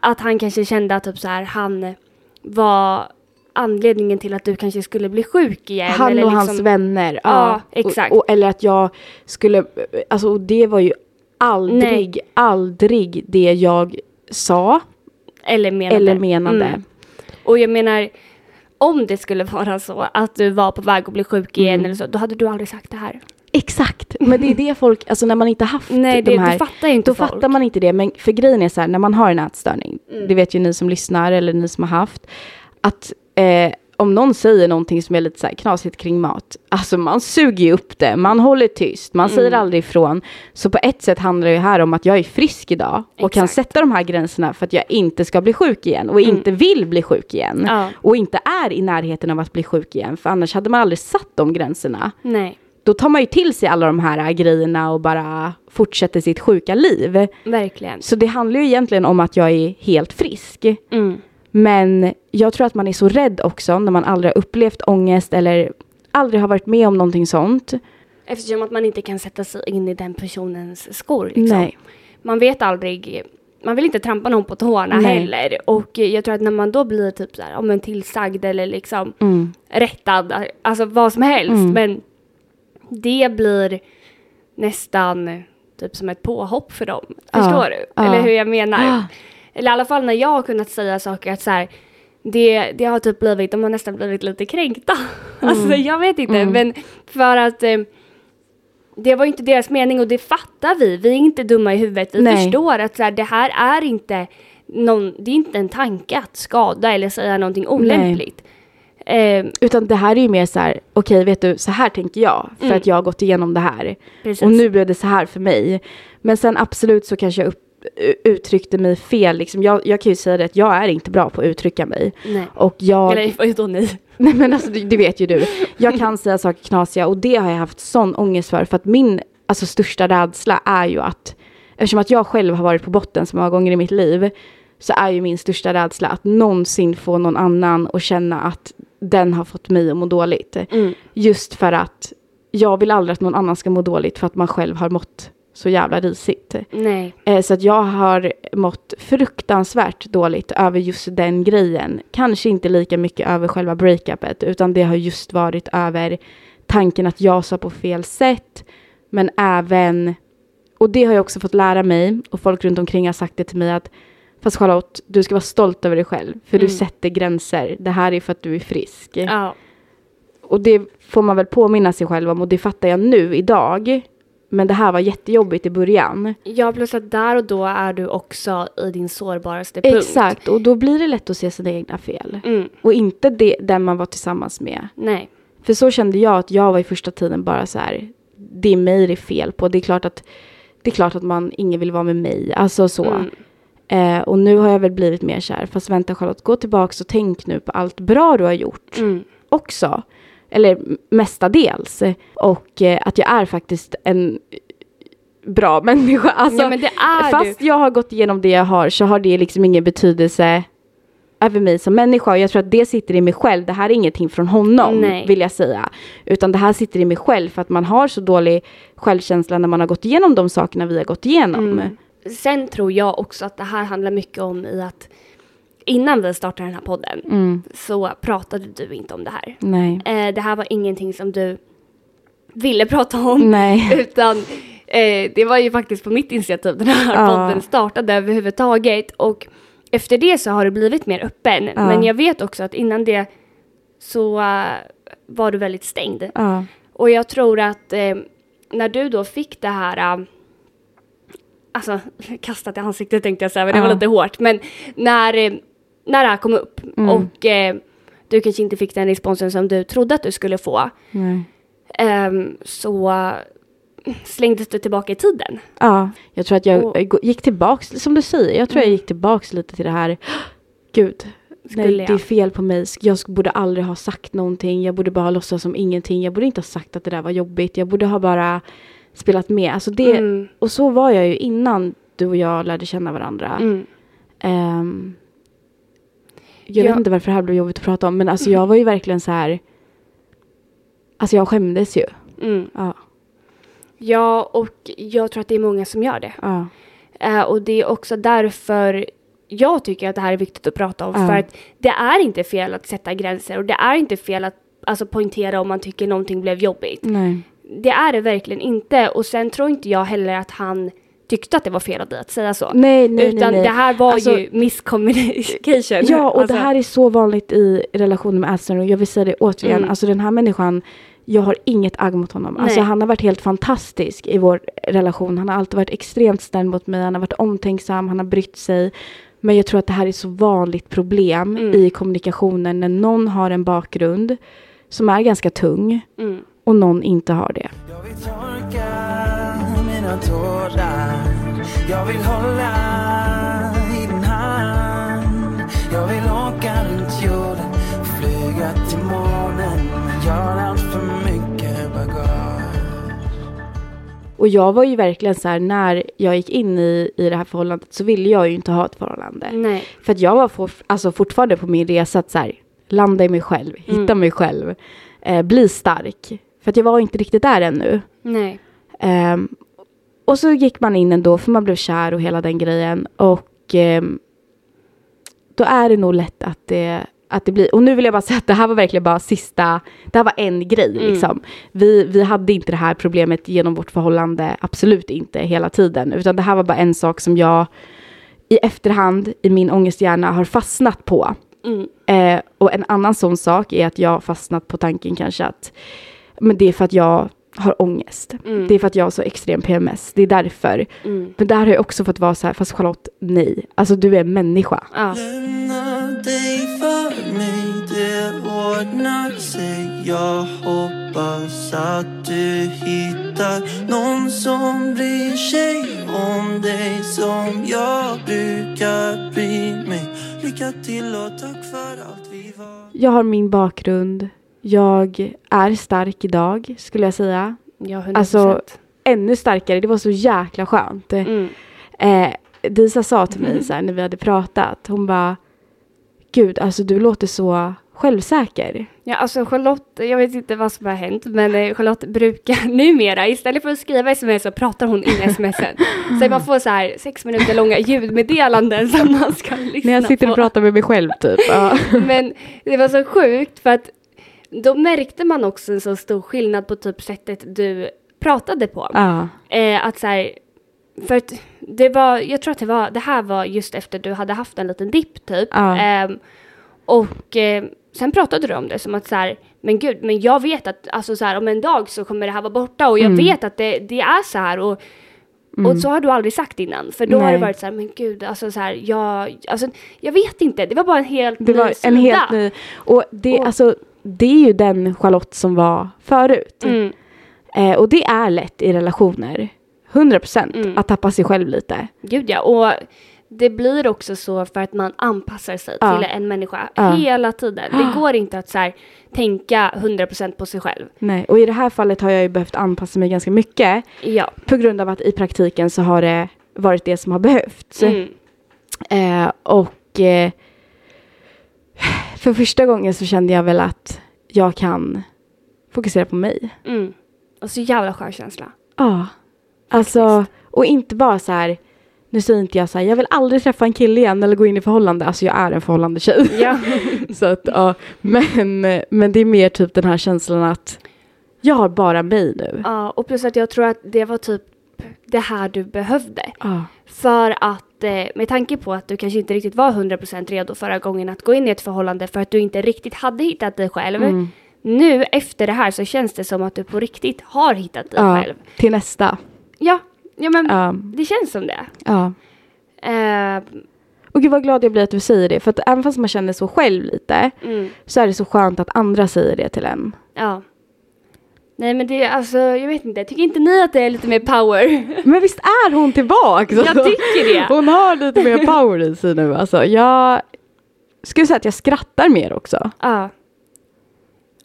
att han kanske kände att typ så här han var anledningen till att du kanske skulle bli sjuk igen. Han och eller liksom- hans vänner. Ja, exakt. Och, och, eller att jag skulle, alltså och det var ju aldrig, aldrig det jag sa Eller menade. eller menade. Mm. Och jag menar, om det skulle vara så att du var på väg att bli sjuk igen eller så, då hade du aldrig sagt det här. Exakt, men det är det folk, alltså när man inte haft Nej, det, de här det fattar ju inte Då folk. Mm. fattar man inte det, men för grejen är så här, när man har en ätstörning, det vet ju ni som lyssnar eller ni som har haft, att eh, om någon säger någonting som är lite så här knasigt kring mat, alltså man suger ju upp det, man håller tyst, man Mm. säger aldrig ifrån. Så på ett sätt handlar det ju här om att jag är frisk idag och kan Exakt. Mm. sätta de här gränserna för att jag inte ska bli sjuk igen och inte vill bli sjuk igen. Ja. Och inte är i närheten av att bli sjuk igen, för annars hade man aldrig satt de gränserna Nej, då tar man ju till sig alla de här äh, grejerna och bara fortsätter sitt sjuka liv. verkligen. Så det handlar ju egentligen om att jag är helt frisk. Mm. Men jag tror att man är så rädd också när man aldrig har upplevt ångest eller aldrig har varit med om någonting sånt. Eftersom att man inte kan sätta sig in i den personens skor. Liksom. Nej. Man vet aldrig, man vill inte trampa någon på tårna Nej. heller. Och eh, jag tror att när man då blir typ så här, om en tillsagd eller liksom Mm. rättad, alltså vad som helst. Mm. Men det blir nästan typ som ett påhopp för dem. Ja, Förstår du? ja. Eller hur jag menar? Ja. Eller i alla fall när jag har kunnat säga saker att så här, det, det har typ blivit, de har nästan blivit lite kränkta. *laughs* Alltså Mm. jag vet inte, men för att eh, det var ju inte deras mening och det fattar vi. Vi är inte dumma i huvudet. Vi Nej. förstår att så här, det här är inte någon, det är inte en tanke att skada eller säga någonting olämpligt. Eh, Utan det här är ju mer så här, okej vet du, så här tänker jag för Mm. att jag har gått igenom det här. precis. Och nu blev det så här för mig. Men sen absolut så kanske jag upp, uttryckte mig fel. Liksom jag, jag kan ju säga det att jag är inte bra på att uttrycka mig. Nej. Och jag... Eller vadå ni? *laughs* Nej men alltså det, det vet ju du. Jag kan säga saker knasiga och det har jag haft sån ångest för. För att min alltså, största rädsla är ju att, eftersom att jag själv har varit på botten så många gånger i mitt liv, så är ju min största rädsla att någonsin få någon annan att känna att den har fått mig att må Mm. dåligt. Just för att jag vill aldrig att någon annan ska må dåligt för att man själv har mått så jävla risigt. Nej. Eh, Så att jag har mått fruktansvärt dåligt över just den grejen. Kanske inte lika mycket över själva breakupet utan det har just varit över tanken att jag sa på fel sätt. Men även, och det har jag också fått lära mig och folk runt omkring har sagt det till mig att fast Charlotte, du ska vara stolt över dig själv för Mm. du sätter gränser. Det här är för att du är frisk. Ja. Och det får man väl påminna sig själv om och det fattar jag nu idag. Men det här var jättejobbigt i början. ja, plus att där och då är du också i din sårbaraste punkt. Exakt, och då blir det lätt att se sina egna fel. Mm. Och inte det, den man var tillsammans med. Nej. För så kände jag att jag var i första tiden bara så här, det är mig det är fel på. Det är klart att, det är klart att man, ingen vill vara med mig. Alltså så. Mm. Eh, och nu har jag väl blivit mer så här, fast vänta Charlotte, gå tillbaka och tänk nu på allt bra du har gjort Mm. också. Eller m- mestadels. Och eh, att jag är faktiskt en bra *laughs* människa. Alltså, ja, men det är Fast jag har gått igenom det jag har så har det liksom ingen betydelse över mig som människa. Och jag tror att det sitter i mig själv. Det här är ingenting från honom Nej. vill jag säga. Utan det här sitter i mig själv för att man har så dålig självkänsla när man har gått igenom de sakerna vi har gått igenom. du. Sen tror jag också att det här handlar mycket om i att innan vi startade den här podden Mm. så pratade du inte om det här. Nej. Eh, det här var ingenting som du ville prata om. *laughs* Nej. Utan eh, det var ju faktiskt på mitt initiativ den här Ja. podden startade överhuvudtaget. Och efter det så har du blivit mer öppen. Ja. Men jag vet också att innan det så eh, var du väldigt stängd. Ja. Och jag tror att eh, när du då fick det här eh, Alltså, *laughs* kastat i ansiktet tänkte jag säga, men det var Ja. lite hårt. Men när, eh, när det här kom upp Mm. och eh, du kanske inte fick den responsen som du trodde att du skulle få. Nej. Ehm, så slängdes du tillbaka i tiden. Ja. Jag tror att jag Och- Mm. gick tillbaks, som du säger, jag tror jag gick tillbaks lite till det här. *gasps* Gud, Skulle Nej, det är jag. fel på mig. Jag sk- borde aldrig ha sagt någonting. Jag borde bara låtsas som ingenting. Jag borde inte ha sagt att det där var jobbigt. Jag borde ha bara spelat med. Alltså det, Mm, Och så var jag ju innan du och jag lärde känna varandra. mm. Ehm, jag Ja. vet inte varför det här blev jobbigt att prata om, men alltså jag var ju verkligen så här... Alltså jag skämdes ju. Mm. Ja, Ja, och jag tror att det är många som gör det. ja, Eh, och det är också därför jag tycker att det här är viktigt att prata om. Ja. För att det är inte fel att sätta gränser och det är inte fel att alltså, poängtera om man tycker någonting blev jobbigt. nej. Det är det verkligen inte. Och sen tror inte jag heller att han tyckte att det var fel av dig att säga så. Nej, nej, Utan nej, nej. det här var Alltså- ju miscommunication. Ja, och Alltså, det här är så vanligt i relationer med ätstörning. Och jag vill säga det återigen, Mm. alltså den här människan, jag har inget agg mot honom. Alltså Nej. han har varit helt fantastisk i vår relation. Han har alltid varit extremt snäll mot mig, han har varit omtänksam, han har brytt sig. Men jag tror att det här är så vanligt problem Mm. i kommunikationen när någon har en bakgrund som är ganska tung Mm. och någon inte har det. Jag vill torka mina tårar Jag vill hålla i din hand Jag vill åka runt jorden Flyga till månen Jag har allt för mycket bagage Och jag var ju verkligen så här, när jag gick in i, i det här förhållandet så ville jag ju inte ha ett förhållande. Nej. För att jag var for, alltså fortfarande på min resa att så här, landa i mig själv, hitta mig själv, eh, bli stark. För att jag var inte riktigt där ännu. Nej. Ehm, och så gick man in ändå för man blev kär och hela den grejen. Och ehm, då är det nog lätt att det, att det blir. Och nu vill jag bara säga att det här var verkligen bara sista, det här var en grej liksom. Vi, vi hade inte det här problemet genom vårt förhållande, absolut inte hela tiden. Utan det här var bara en sak som jag i efterhand i min ångesthjärna har fastnat på. Mm. Eh, och en annan sån sak är att jag har fastnat på tanken kanske att men det är för att jag har ångest. Mm. Det är för att jag har så extrem PMS. Det är därför. Mm. Men där har jag också fått vara så här, fast Charlotte, nej. Alltså du är en människa. Ja. Lämna dig för mig, det ordnar sig Jag hoppas att du hittar någon som bryr sig om dig som jag brukar bry mig Lycka till och tack för allt vi var Jag har min bakgrund. Jag är stark idag, skulle jag säga. Ja, 100%. Alltså, Ännu starkare. Det var så jäkla skönt. mm. Eh, Disa sa till mig så här, när vi hade pratat, hon bara Gud, alltså du låter så självsäker. Ja, alltså Charlotte, jag vet inte vad som har hänt, men eh, Charlotte brukar *laughs* numera, istället för att skriva sms så pratar hon in smsen. Så man får så här sex minuter långa ljudmeddelanden som man ska lyssna När jag sitter på. och pratar med mig själv *laughs* typ. Ja. Men det var så sjukt för att då märkte man också en så stor skillnad på typ sättet du pratade på. ja. Eh, att så här, för att det var, jag tror att det var, det här var just efter du hade haft en liten dipp typ. Ja. Ehm, och eh, sen pratade du om det som att så här, men gud, men jag vet att alltså så här, om en dag så kommer det här vara borta och jag Mm. vet att det, det är så här och Och så har du aldrig sagt innan, för då har det Nej. varit så här, men gud, alltså så här, jag, alltså, jag vet inte, det var bara en helt Det ny var en sida. helt ny... Och det, Och- Alltså, det är ju den Charlotte som var förut. Mm, Eh, och det är lätt i relationer. 100% procent Mm. att tappa sig själv lite. gud ja, och det blir också så för att man anpassar sig Ja. till en människa Ja. hela tiden. *gasps* Det går inte att så här, tänka 100% på sig själv. Nej. Och i det här fallet har jag ju behövt anpassa mig ganska mycket. Ja. På grund av att i praktiken så har det varit det som har behövts. Mm. Eh, och eh, för första gången så kände jag väl att jag kan fokusera på mig. Mm. Och så jävla skön *laughs* känsla. Ja. Alltså, och inte bara så här, nu säger inte jag så här, jag vill aldrig träffa en kille igen eller gå in i förhållande. Alltså jag är en förhållande tjej. *laughs* Ja. så att, ja. men, men det är mer typ den här känslan att jag har bara mig nu. ja, och plus att jag tror att det var typ det här du behövde. Ja. För att eh, med tanke på att du kanske inte riktigt var 100% redo förra gången att gå in i ett förhållande för att du inte riktigt hade hittat dig själv. Mm. Nu efter det här så känns det som att du på riktigt har hittat dig Ja. själv. Till nästa. Ja, ja men Ja. det känns som det. Ja. Eh, Och gud vad glad jag blir att du säger det. För att även fast man känner så själv lite mm, så är det så skönt att andra säger det till en. ja. Nej men det är alltså, jag vet inte, tycker inte ni att det är lite mer *laughs* power? Men visst är hon tillbaka? Jag tycker det. *laughs* Hon har lite mer power i sig nu alltså. Jag skulle säga att jag skrattar mer också. Ja.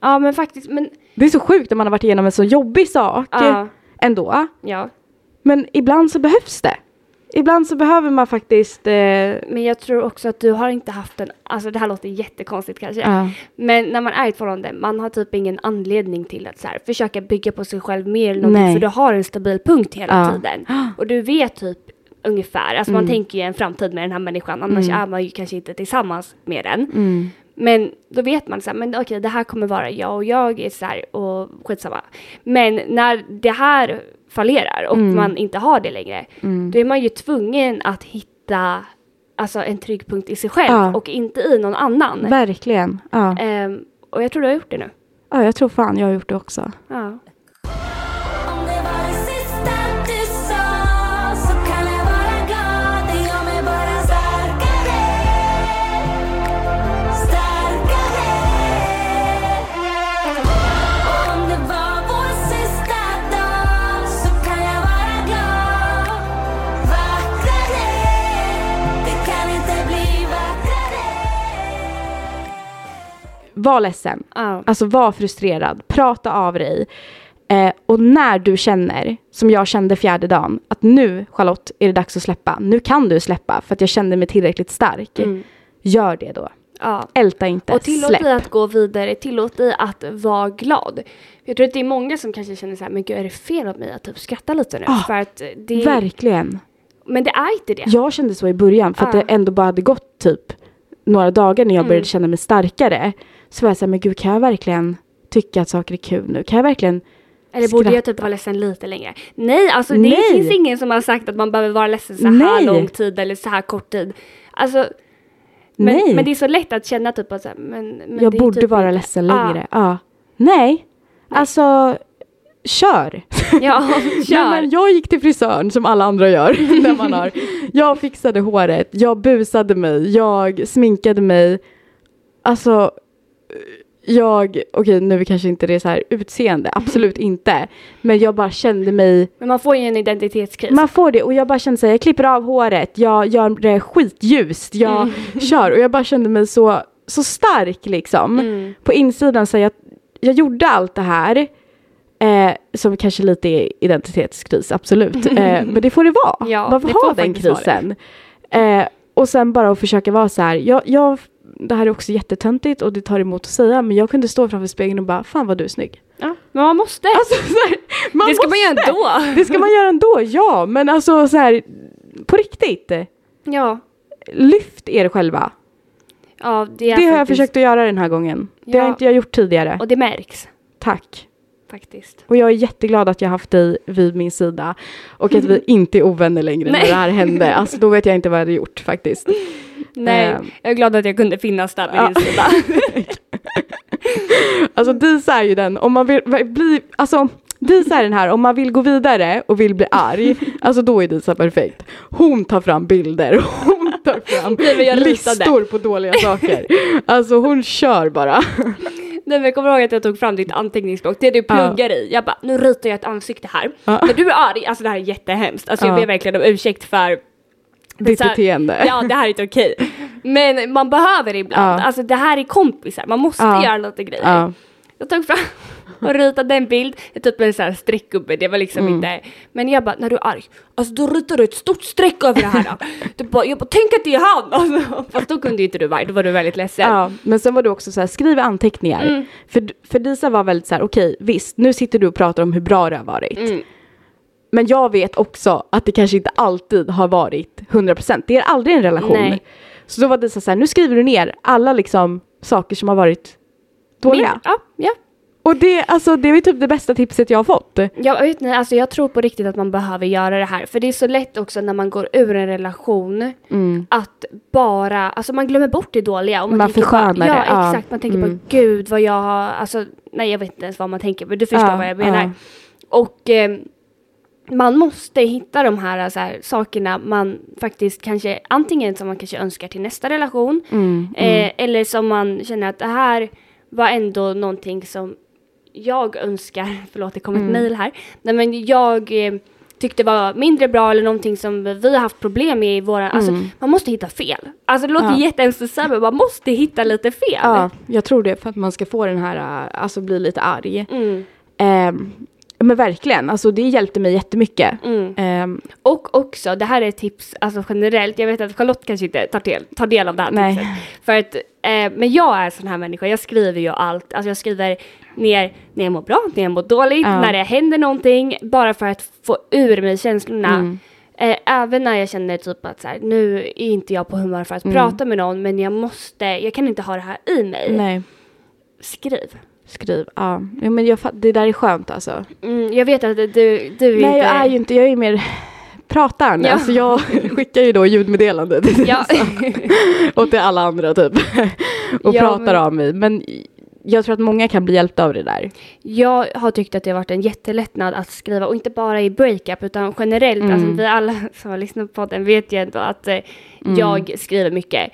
Ja men faktiskt, men Det är så sjukt när man har varit igenom en så jobbig sak ja. ändå. ja. Men ibland så behövs det. Ibland så behöver man faktiskt... Eh, Men jag tror också att du har inte haft en, alltså det här låter jättekonstigt kanske. ja. Men när man är i ett förhållande, man har typ ingen anledning till att så här, försöka bygga på sig själv mer eller någonting, Nej. för du har en stabil punkt hela Ja. tiden. Och du vet typ ungefär, alltså man tänker ju en framtid med den här människan, annars är man ju kanske inte tillsammans med den. Mm, Men då vet man så här, men okej det här kommer vara jag och jag är så här och skitsamma. Men när det här fallerar och man inte har det längre, Mm. då är man ju tvungen att hitta alltså, en trygg punkt i sig själv Ja. och inte i någon annan. Verkligen. Ja. Ehm, och jag tror du har gjort det nu. ja, jag tror fan jag har gjort det också. Ja. Om det var det sista du sa så kan jag vara glad. Det gör mig bara starkare. Starkare. Och om det var vår sista dag så kan jag vara glad. Vackrare. Det kan inte bli vackrare. Var ledsen. Ja. Alltså var frustrerad. Prata av dig. Eh, och när du känner, som jag kände fjärde dagen, att nu Charlotte är det dags att släppa. Nu kan du släppa för att jag kände mig tillräckligt stark. Gör det då. ja. Älta inte. Mm. Och tillåt Släpp. dig att gå vidare, tillåt dig att vara glad. Jag tror att det är många som kanske känner så här, men gud är det fel av mig att typ skratta lite nu? Ja. För att det, Ah, Verkligen. men det är inte det. Jag kände så i början för att Ja. Mm. det ändå bara hade gått typ några dagar när jag började känna mig starkare. Så var jag såhär, men gud kan jag verkligen tycka att saker är kul nu? Kan jag verkligen? Eller borde jag Skratta. typ vara ledsen lite längre? Nej, alltså det Nej. finns ingen som har sagt att man behöver vara ledsen så här Nej. lång tid eller så här kort tid. Alltså, men, Nej. men det är så lätt att känna typ att så här, men, men jag det är borde typ vara inte- ledsen längre. Ja. Nej. Alltså, kör. Ah, Ja, ja kör. *laughs* Nej, men jag gick till frisören som alla andra gör. *laughs* när man har. Jag fixade håret, jag busade mig, jag sminkade mig. Alltså, jag, okej nu kanske inte det är så här utseende, absolut inte. Men jag bara kände mig, men man får ju en identitetskris. man får det och jag bara kände så här, jag klipper av håret, jag gör det skitljust, jag kör. Och jag bara kände mig så, så stark liksom. Mm. På insidan så här, jag, jag gjorde allt det här. Eh, som kanske lite är *laughs* identitetskris, absolut. Eh, men det får det vara. Ja, Man får det ha får den faktiskt vara det. krisen. Eh, och sen bara att försöka vara så här, jag, jag det här är också jättetöntigt och det tar emot att säga men jag kunde stå framför spegeln och bara fan vad du *laughs* är snygg. Ja, men man måste. Alltså, så här, man det ska man göra måste. ändå. *laughs* Det ska man göra ändå, ja men alltså så här på riktigt. Ja, Lyft er själva. ja det, är Det har jag faktiskt- försökt att göra den här gången. Det har Ja. inte jag gjort tidigare. Och det märks Tack. faktiskt. Och jag är jätteglad att jag haft dig vid min sida och *laughs* att vi inte är ovänner längre när Nej. det här hände. Alltså då vet jag inte vad jag hade gjort *laughs* faktiskt. Nej, Ehm. jag är glad att jag kunde finnas där vid Ja. *laughs* din sida. Alltså Disa är ju den, om man vill va- bli, alltså Disa är den här, om man vill gå vidare och vill bli arg, alltså då är Disa perfekt. Hon tar fram bilder, hon tar fram Nej, men jag ritade. listor på dåliga saker. Alltså hon kör bara. Nej, men jag kommer ihåg att jag tog fram ditt anteckningsblock, det du pluggar i. Jag bara, nu ritar jag ett ansikte här. Ja. När du är arg, alltså det här är jättehemskt. Alltså Ja. jag ber verkligen om ursäkt för Ditt så här- beteende. Ja, det här är inte okej. Men man behöver ibland, Ja. alltså det här är kompisar, man måste Ja. göra lite grejer. Ja. Jag tog fram *laughs* och ritade en bild, typ en sån här streckgubbe, det var Mm. liksom inte... Men jag bara, när du är arg, alltså då ritar du ett stort streck över det här. *laughs* du bara, jag bara, tänk att det är han! *laughs* Alltså, fast då kunde ju inte du vara arg, då var du väldigt ledsen. Ja, men sen var du också så här, skriv anteckningar. Mm. För, för Disa var väldigt så här, okej visst, nu sitter du och pratar om hur bra det har varit. Mm. Men jag vet också att det kanske inte alltid har varit 100%. Det är aldrig en relation. Nej. Så då var Disa så här, nu skriver du ner alla liksom saker som har varit dåliga. Min- ja, ja. Och det, alltså, det är ju typ det bästa tipset jag har fått. Jag vet inte, alltså jag tror på riktigt att man behöver göra det här. För det är så lätt också när man går ur en relation att bara, alltså man glömmer bort det dåliga. Och Mm. Man tänker bara, förskönar det, ja. Mm. Ja, exakt. Man tänker bara gud vad jag har, alltså nej jag vet inte ens vad man tänker men du förstår Ja, vad jag menar. ja. Och eh, man måste hitta de här, så här sakerna man faktiskt kanske, antingen som man kanske önskar till nästa relation Mm. eh, eller som man känner att det här var ändå någonting som jag önskar, *laughs* förlåt det kom Mm. ett mejl här, nej men jag eh, tyckte var mindre bra eller någonting som vi har haft problem med i våra, alltså man måste hitta fel. Alltså det låter Mm. Ja. jättehemskt att säga men man måste hitta lite fel. Ja, jag tror det för att man ska få den här, äh, alltså bli lite arg. Mm, Ehm, men verkligen, alltså det hjälpte mig jättemycket. mm. Ehm, Och också, det här är ett tips alltså generellt, jag vet att Charlotte kanske inte tar del, tar del av det här Nej. tipset. För att, eh, men jag är sån här människa, jag skriver ju allt. Alltså jag skriver ner när jag mår bra, när jag mår dåligt, Ja. när det händer någonting. Bara för att få ur mig känslorna. mm. Eh, även när jag känner typ att så här, nu är inte jag på humör för Mm. att prata med någon men jag måste, jag kan inte ha det här i mig. nej, Skriv. skriv. Ja, Ja, men jag, fatt- det där är skönt alltså. Mm, jag vet att du, du inte... Nej, jag är ju inte, jag är ju mer *laughs* prataren. Ja. Alltså jag *laughs* skickar ju då ljudmeddelande till *laughs* Ja. och till alla andra typ. *laughs* och Ja, pratar men- om mig. Men jag tror att många kan bli hjälpta av det där. Jag har tyckt att det har varit en jättelättnad att skriva och inte bara i breakup utan generellt. Alltså, vi alla *laughs* som har lyssnat på den vet ju ändå att eh, jag skriver mycket.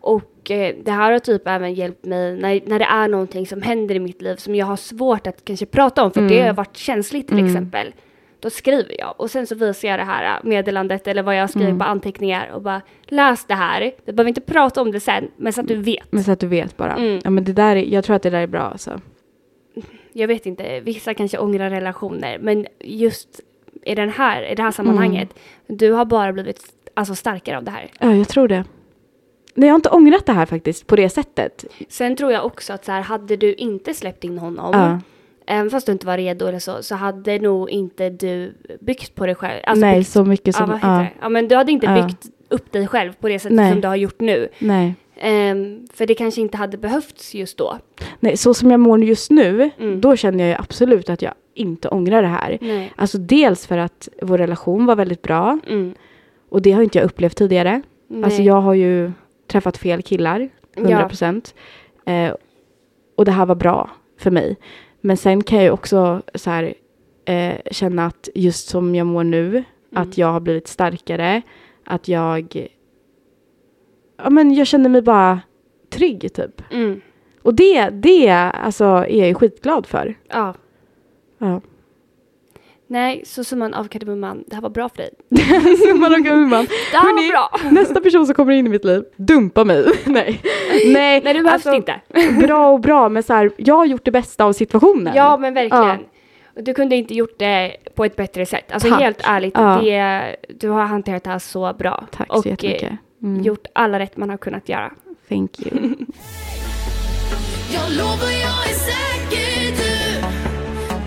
Och eh, det här har typ även hjälpt mig när, när det är någonting som händer i mitt liv som jag har svårt att kanske prata om för det har varit känsligt till exempel. Då skriver jag och sen så visar jag det här eh, meddelandet eller vad jag skriver på anteckningar och bara läs det här. Vi behöver inte prata om det sen men så att du vet. Men så att du vet bara. Mm. Ja, men det där är, jag tror att det där är bra alltså. jag vet inte, vissa kanske ångrar relationer, men just i, den här, i det här sammanhanget, du har bara blivit alltså, starkare av det här. Ja, jag tror det. Nej, jag har inte ångrat det här faktiskt på det sättet. Sen tror jag också att så här, hade du inte släppt in honom, Ja. även fast du inte var redo eller så, så hade nog inte du byggt på dig själv. Alltså, nej, byggt, så mycket ja, som... vad heter det? ja, men du hade inte Ja. byggt upp dig själv på det sättet Nej. som du har gjort nu. nej. Ehm, för det kanske inte hade behövts just då. nej, så som jag mår just nu, Mm. då känner jag ju absolut att jag inte ångrar det här. Nej. Alltså dels för att vår relation var väldigt bra Mm. och det har inte jag upplevt tidigare. Nej. Alltså jag har ju träffat fel killar, 100 procent. Eh, och det här var bra för mig. Men sen kan jag ju också så här, eh, känna att just som jag mår nu, att jag har blivit starkare, att jag... Ja, men jag känner mig bara trygg, typ. Mm. Och det, det alltså, är jag ju skitglad för. Ja. Ja. Nej, så som man av kardemumman, det här var bra för dig. *laughs* Summan av gumman. *laughs* Det här Hörni, var bra! Nästa person som kommer in i mitt liv, dumpa mig. *laughs* Nej. Nej, Nej, det behövs alltså, inte. Bra och bra, men så här, jag har gjort det bästa av situationen. *laughs* Ja, men verkligen. Du kunde inte gjort det på ett bättre sätt. Alltså Tack. helt ärligt, Ja. det, du har hanterat det här så bra. Tack så och eh, jättemycket. Mm. gjort alla rätt man har kunnat göra. Thank you. Jag lovar jag är säker du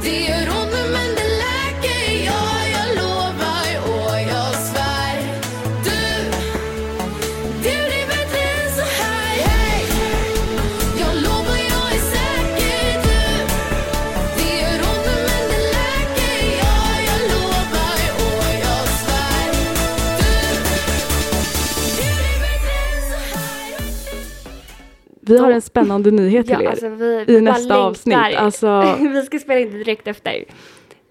Det gör ont nu men det läker Ja, jag lovar och jag svär Du, det blir bättre än så här Hey! Jag lovar jag är säker du Det gör ont nu men det läker Ja, jag lovar och jag svär Du, det blir bättre än så här Vi har en spännande nyhet till Ja, er. alltså vi, I vi bara nästa längtar. avsnitt. Alltså, *laughs* vi ska spela in det direkt efter.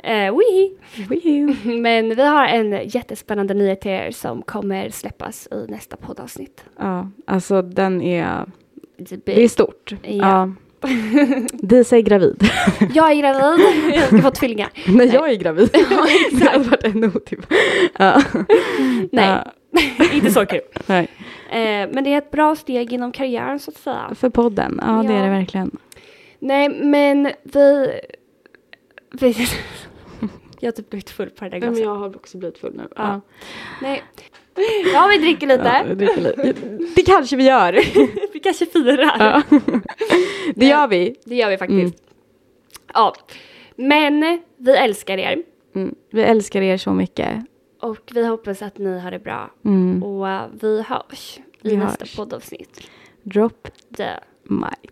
Eh, wihi. wee. *laughs* Men vi har en jättespännande nyhet till er som kommer släppas i nästa poddavsnitt. ja, alltså den är... Det är Typ. stort. Ja. *laughs* Ja. Disa är gravid. Jag är gravid, jag ska få tvillingar. När jag är *laughs* gravid. det hade varit ännu otyp. Ja. Nej, *laughs* Ja, *laughs* inte så kul. nej. Eh, men det är ett bra steg inom karriären så att säga. För podden. Ja, det är det Ja. verkligen. Nej, men vi... vi *laughs* jag har typ blivit full på det där glaset. jag har också blivit full nu. Ja. Nej. Ja, vi dricker Ja, lite. det dricker lite. det kanske vi gör. Vi kanske *laughs* firar. Ja. Det gör vi. Det gör vi faktiskt. Mm. Ja. Men vi älskar er Mm. Vi älskar er så mycket. och vi hoppas att ni har det bra. Mm. Och eh, vi hörs i Vi nästa hörs. poddavsnitt. Drop Det. mic.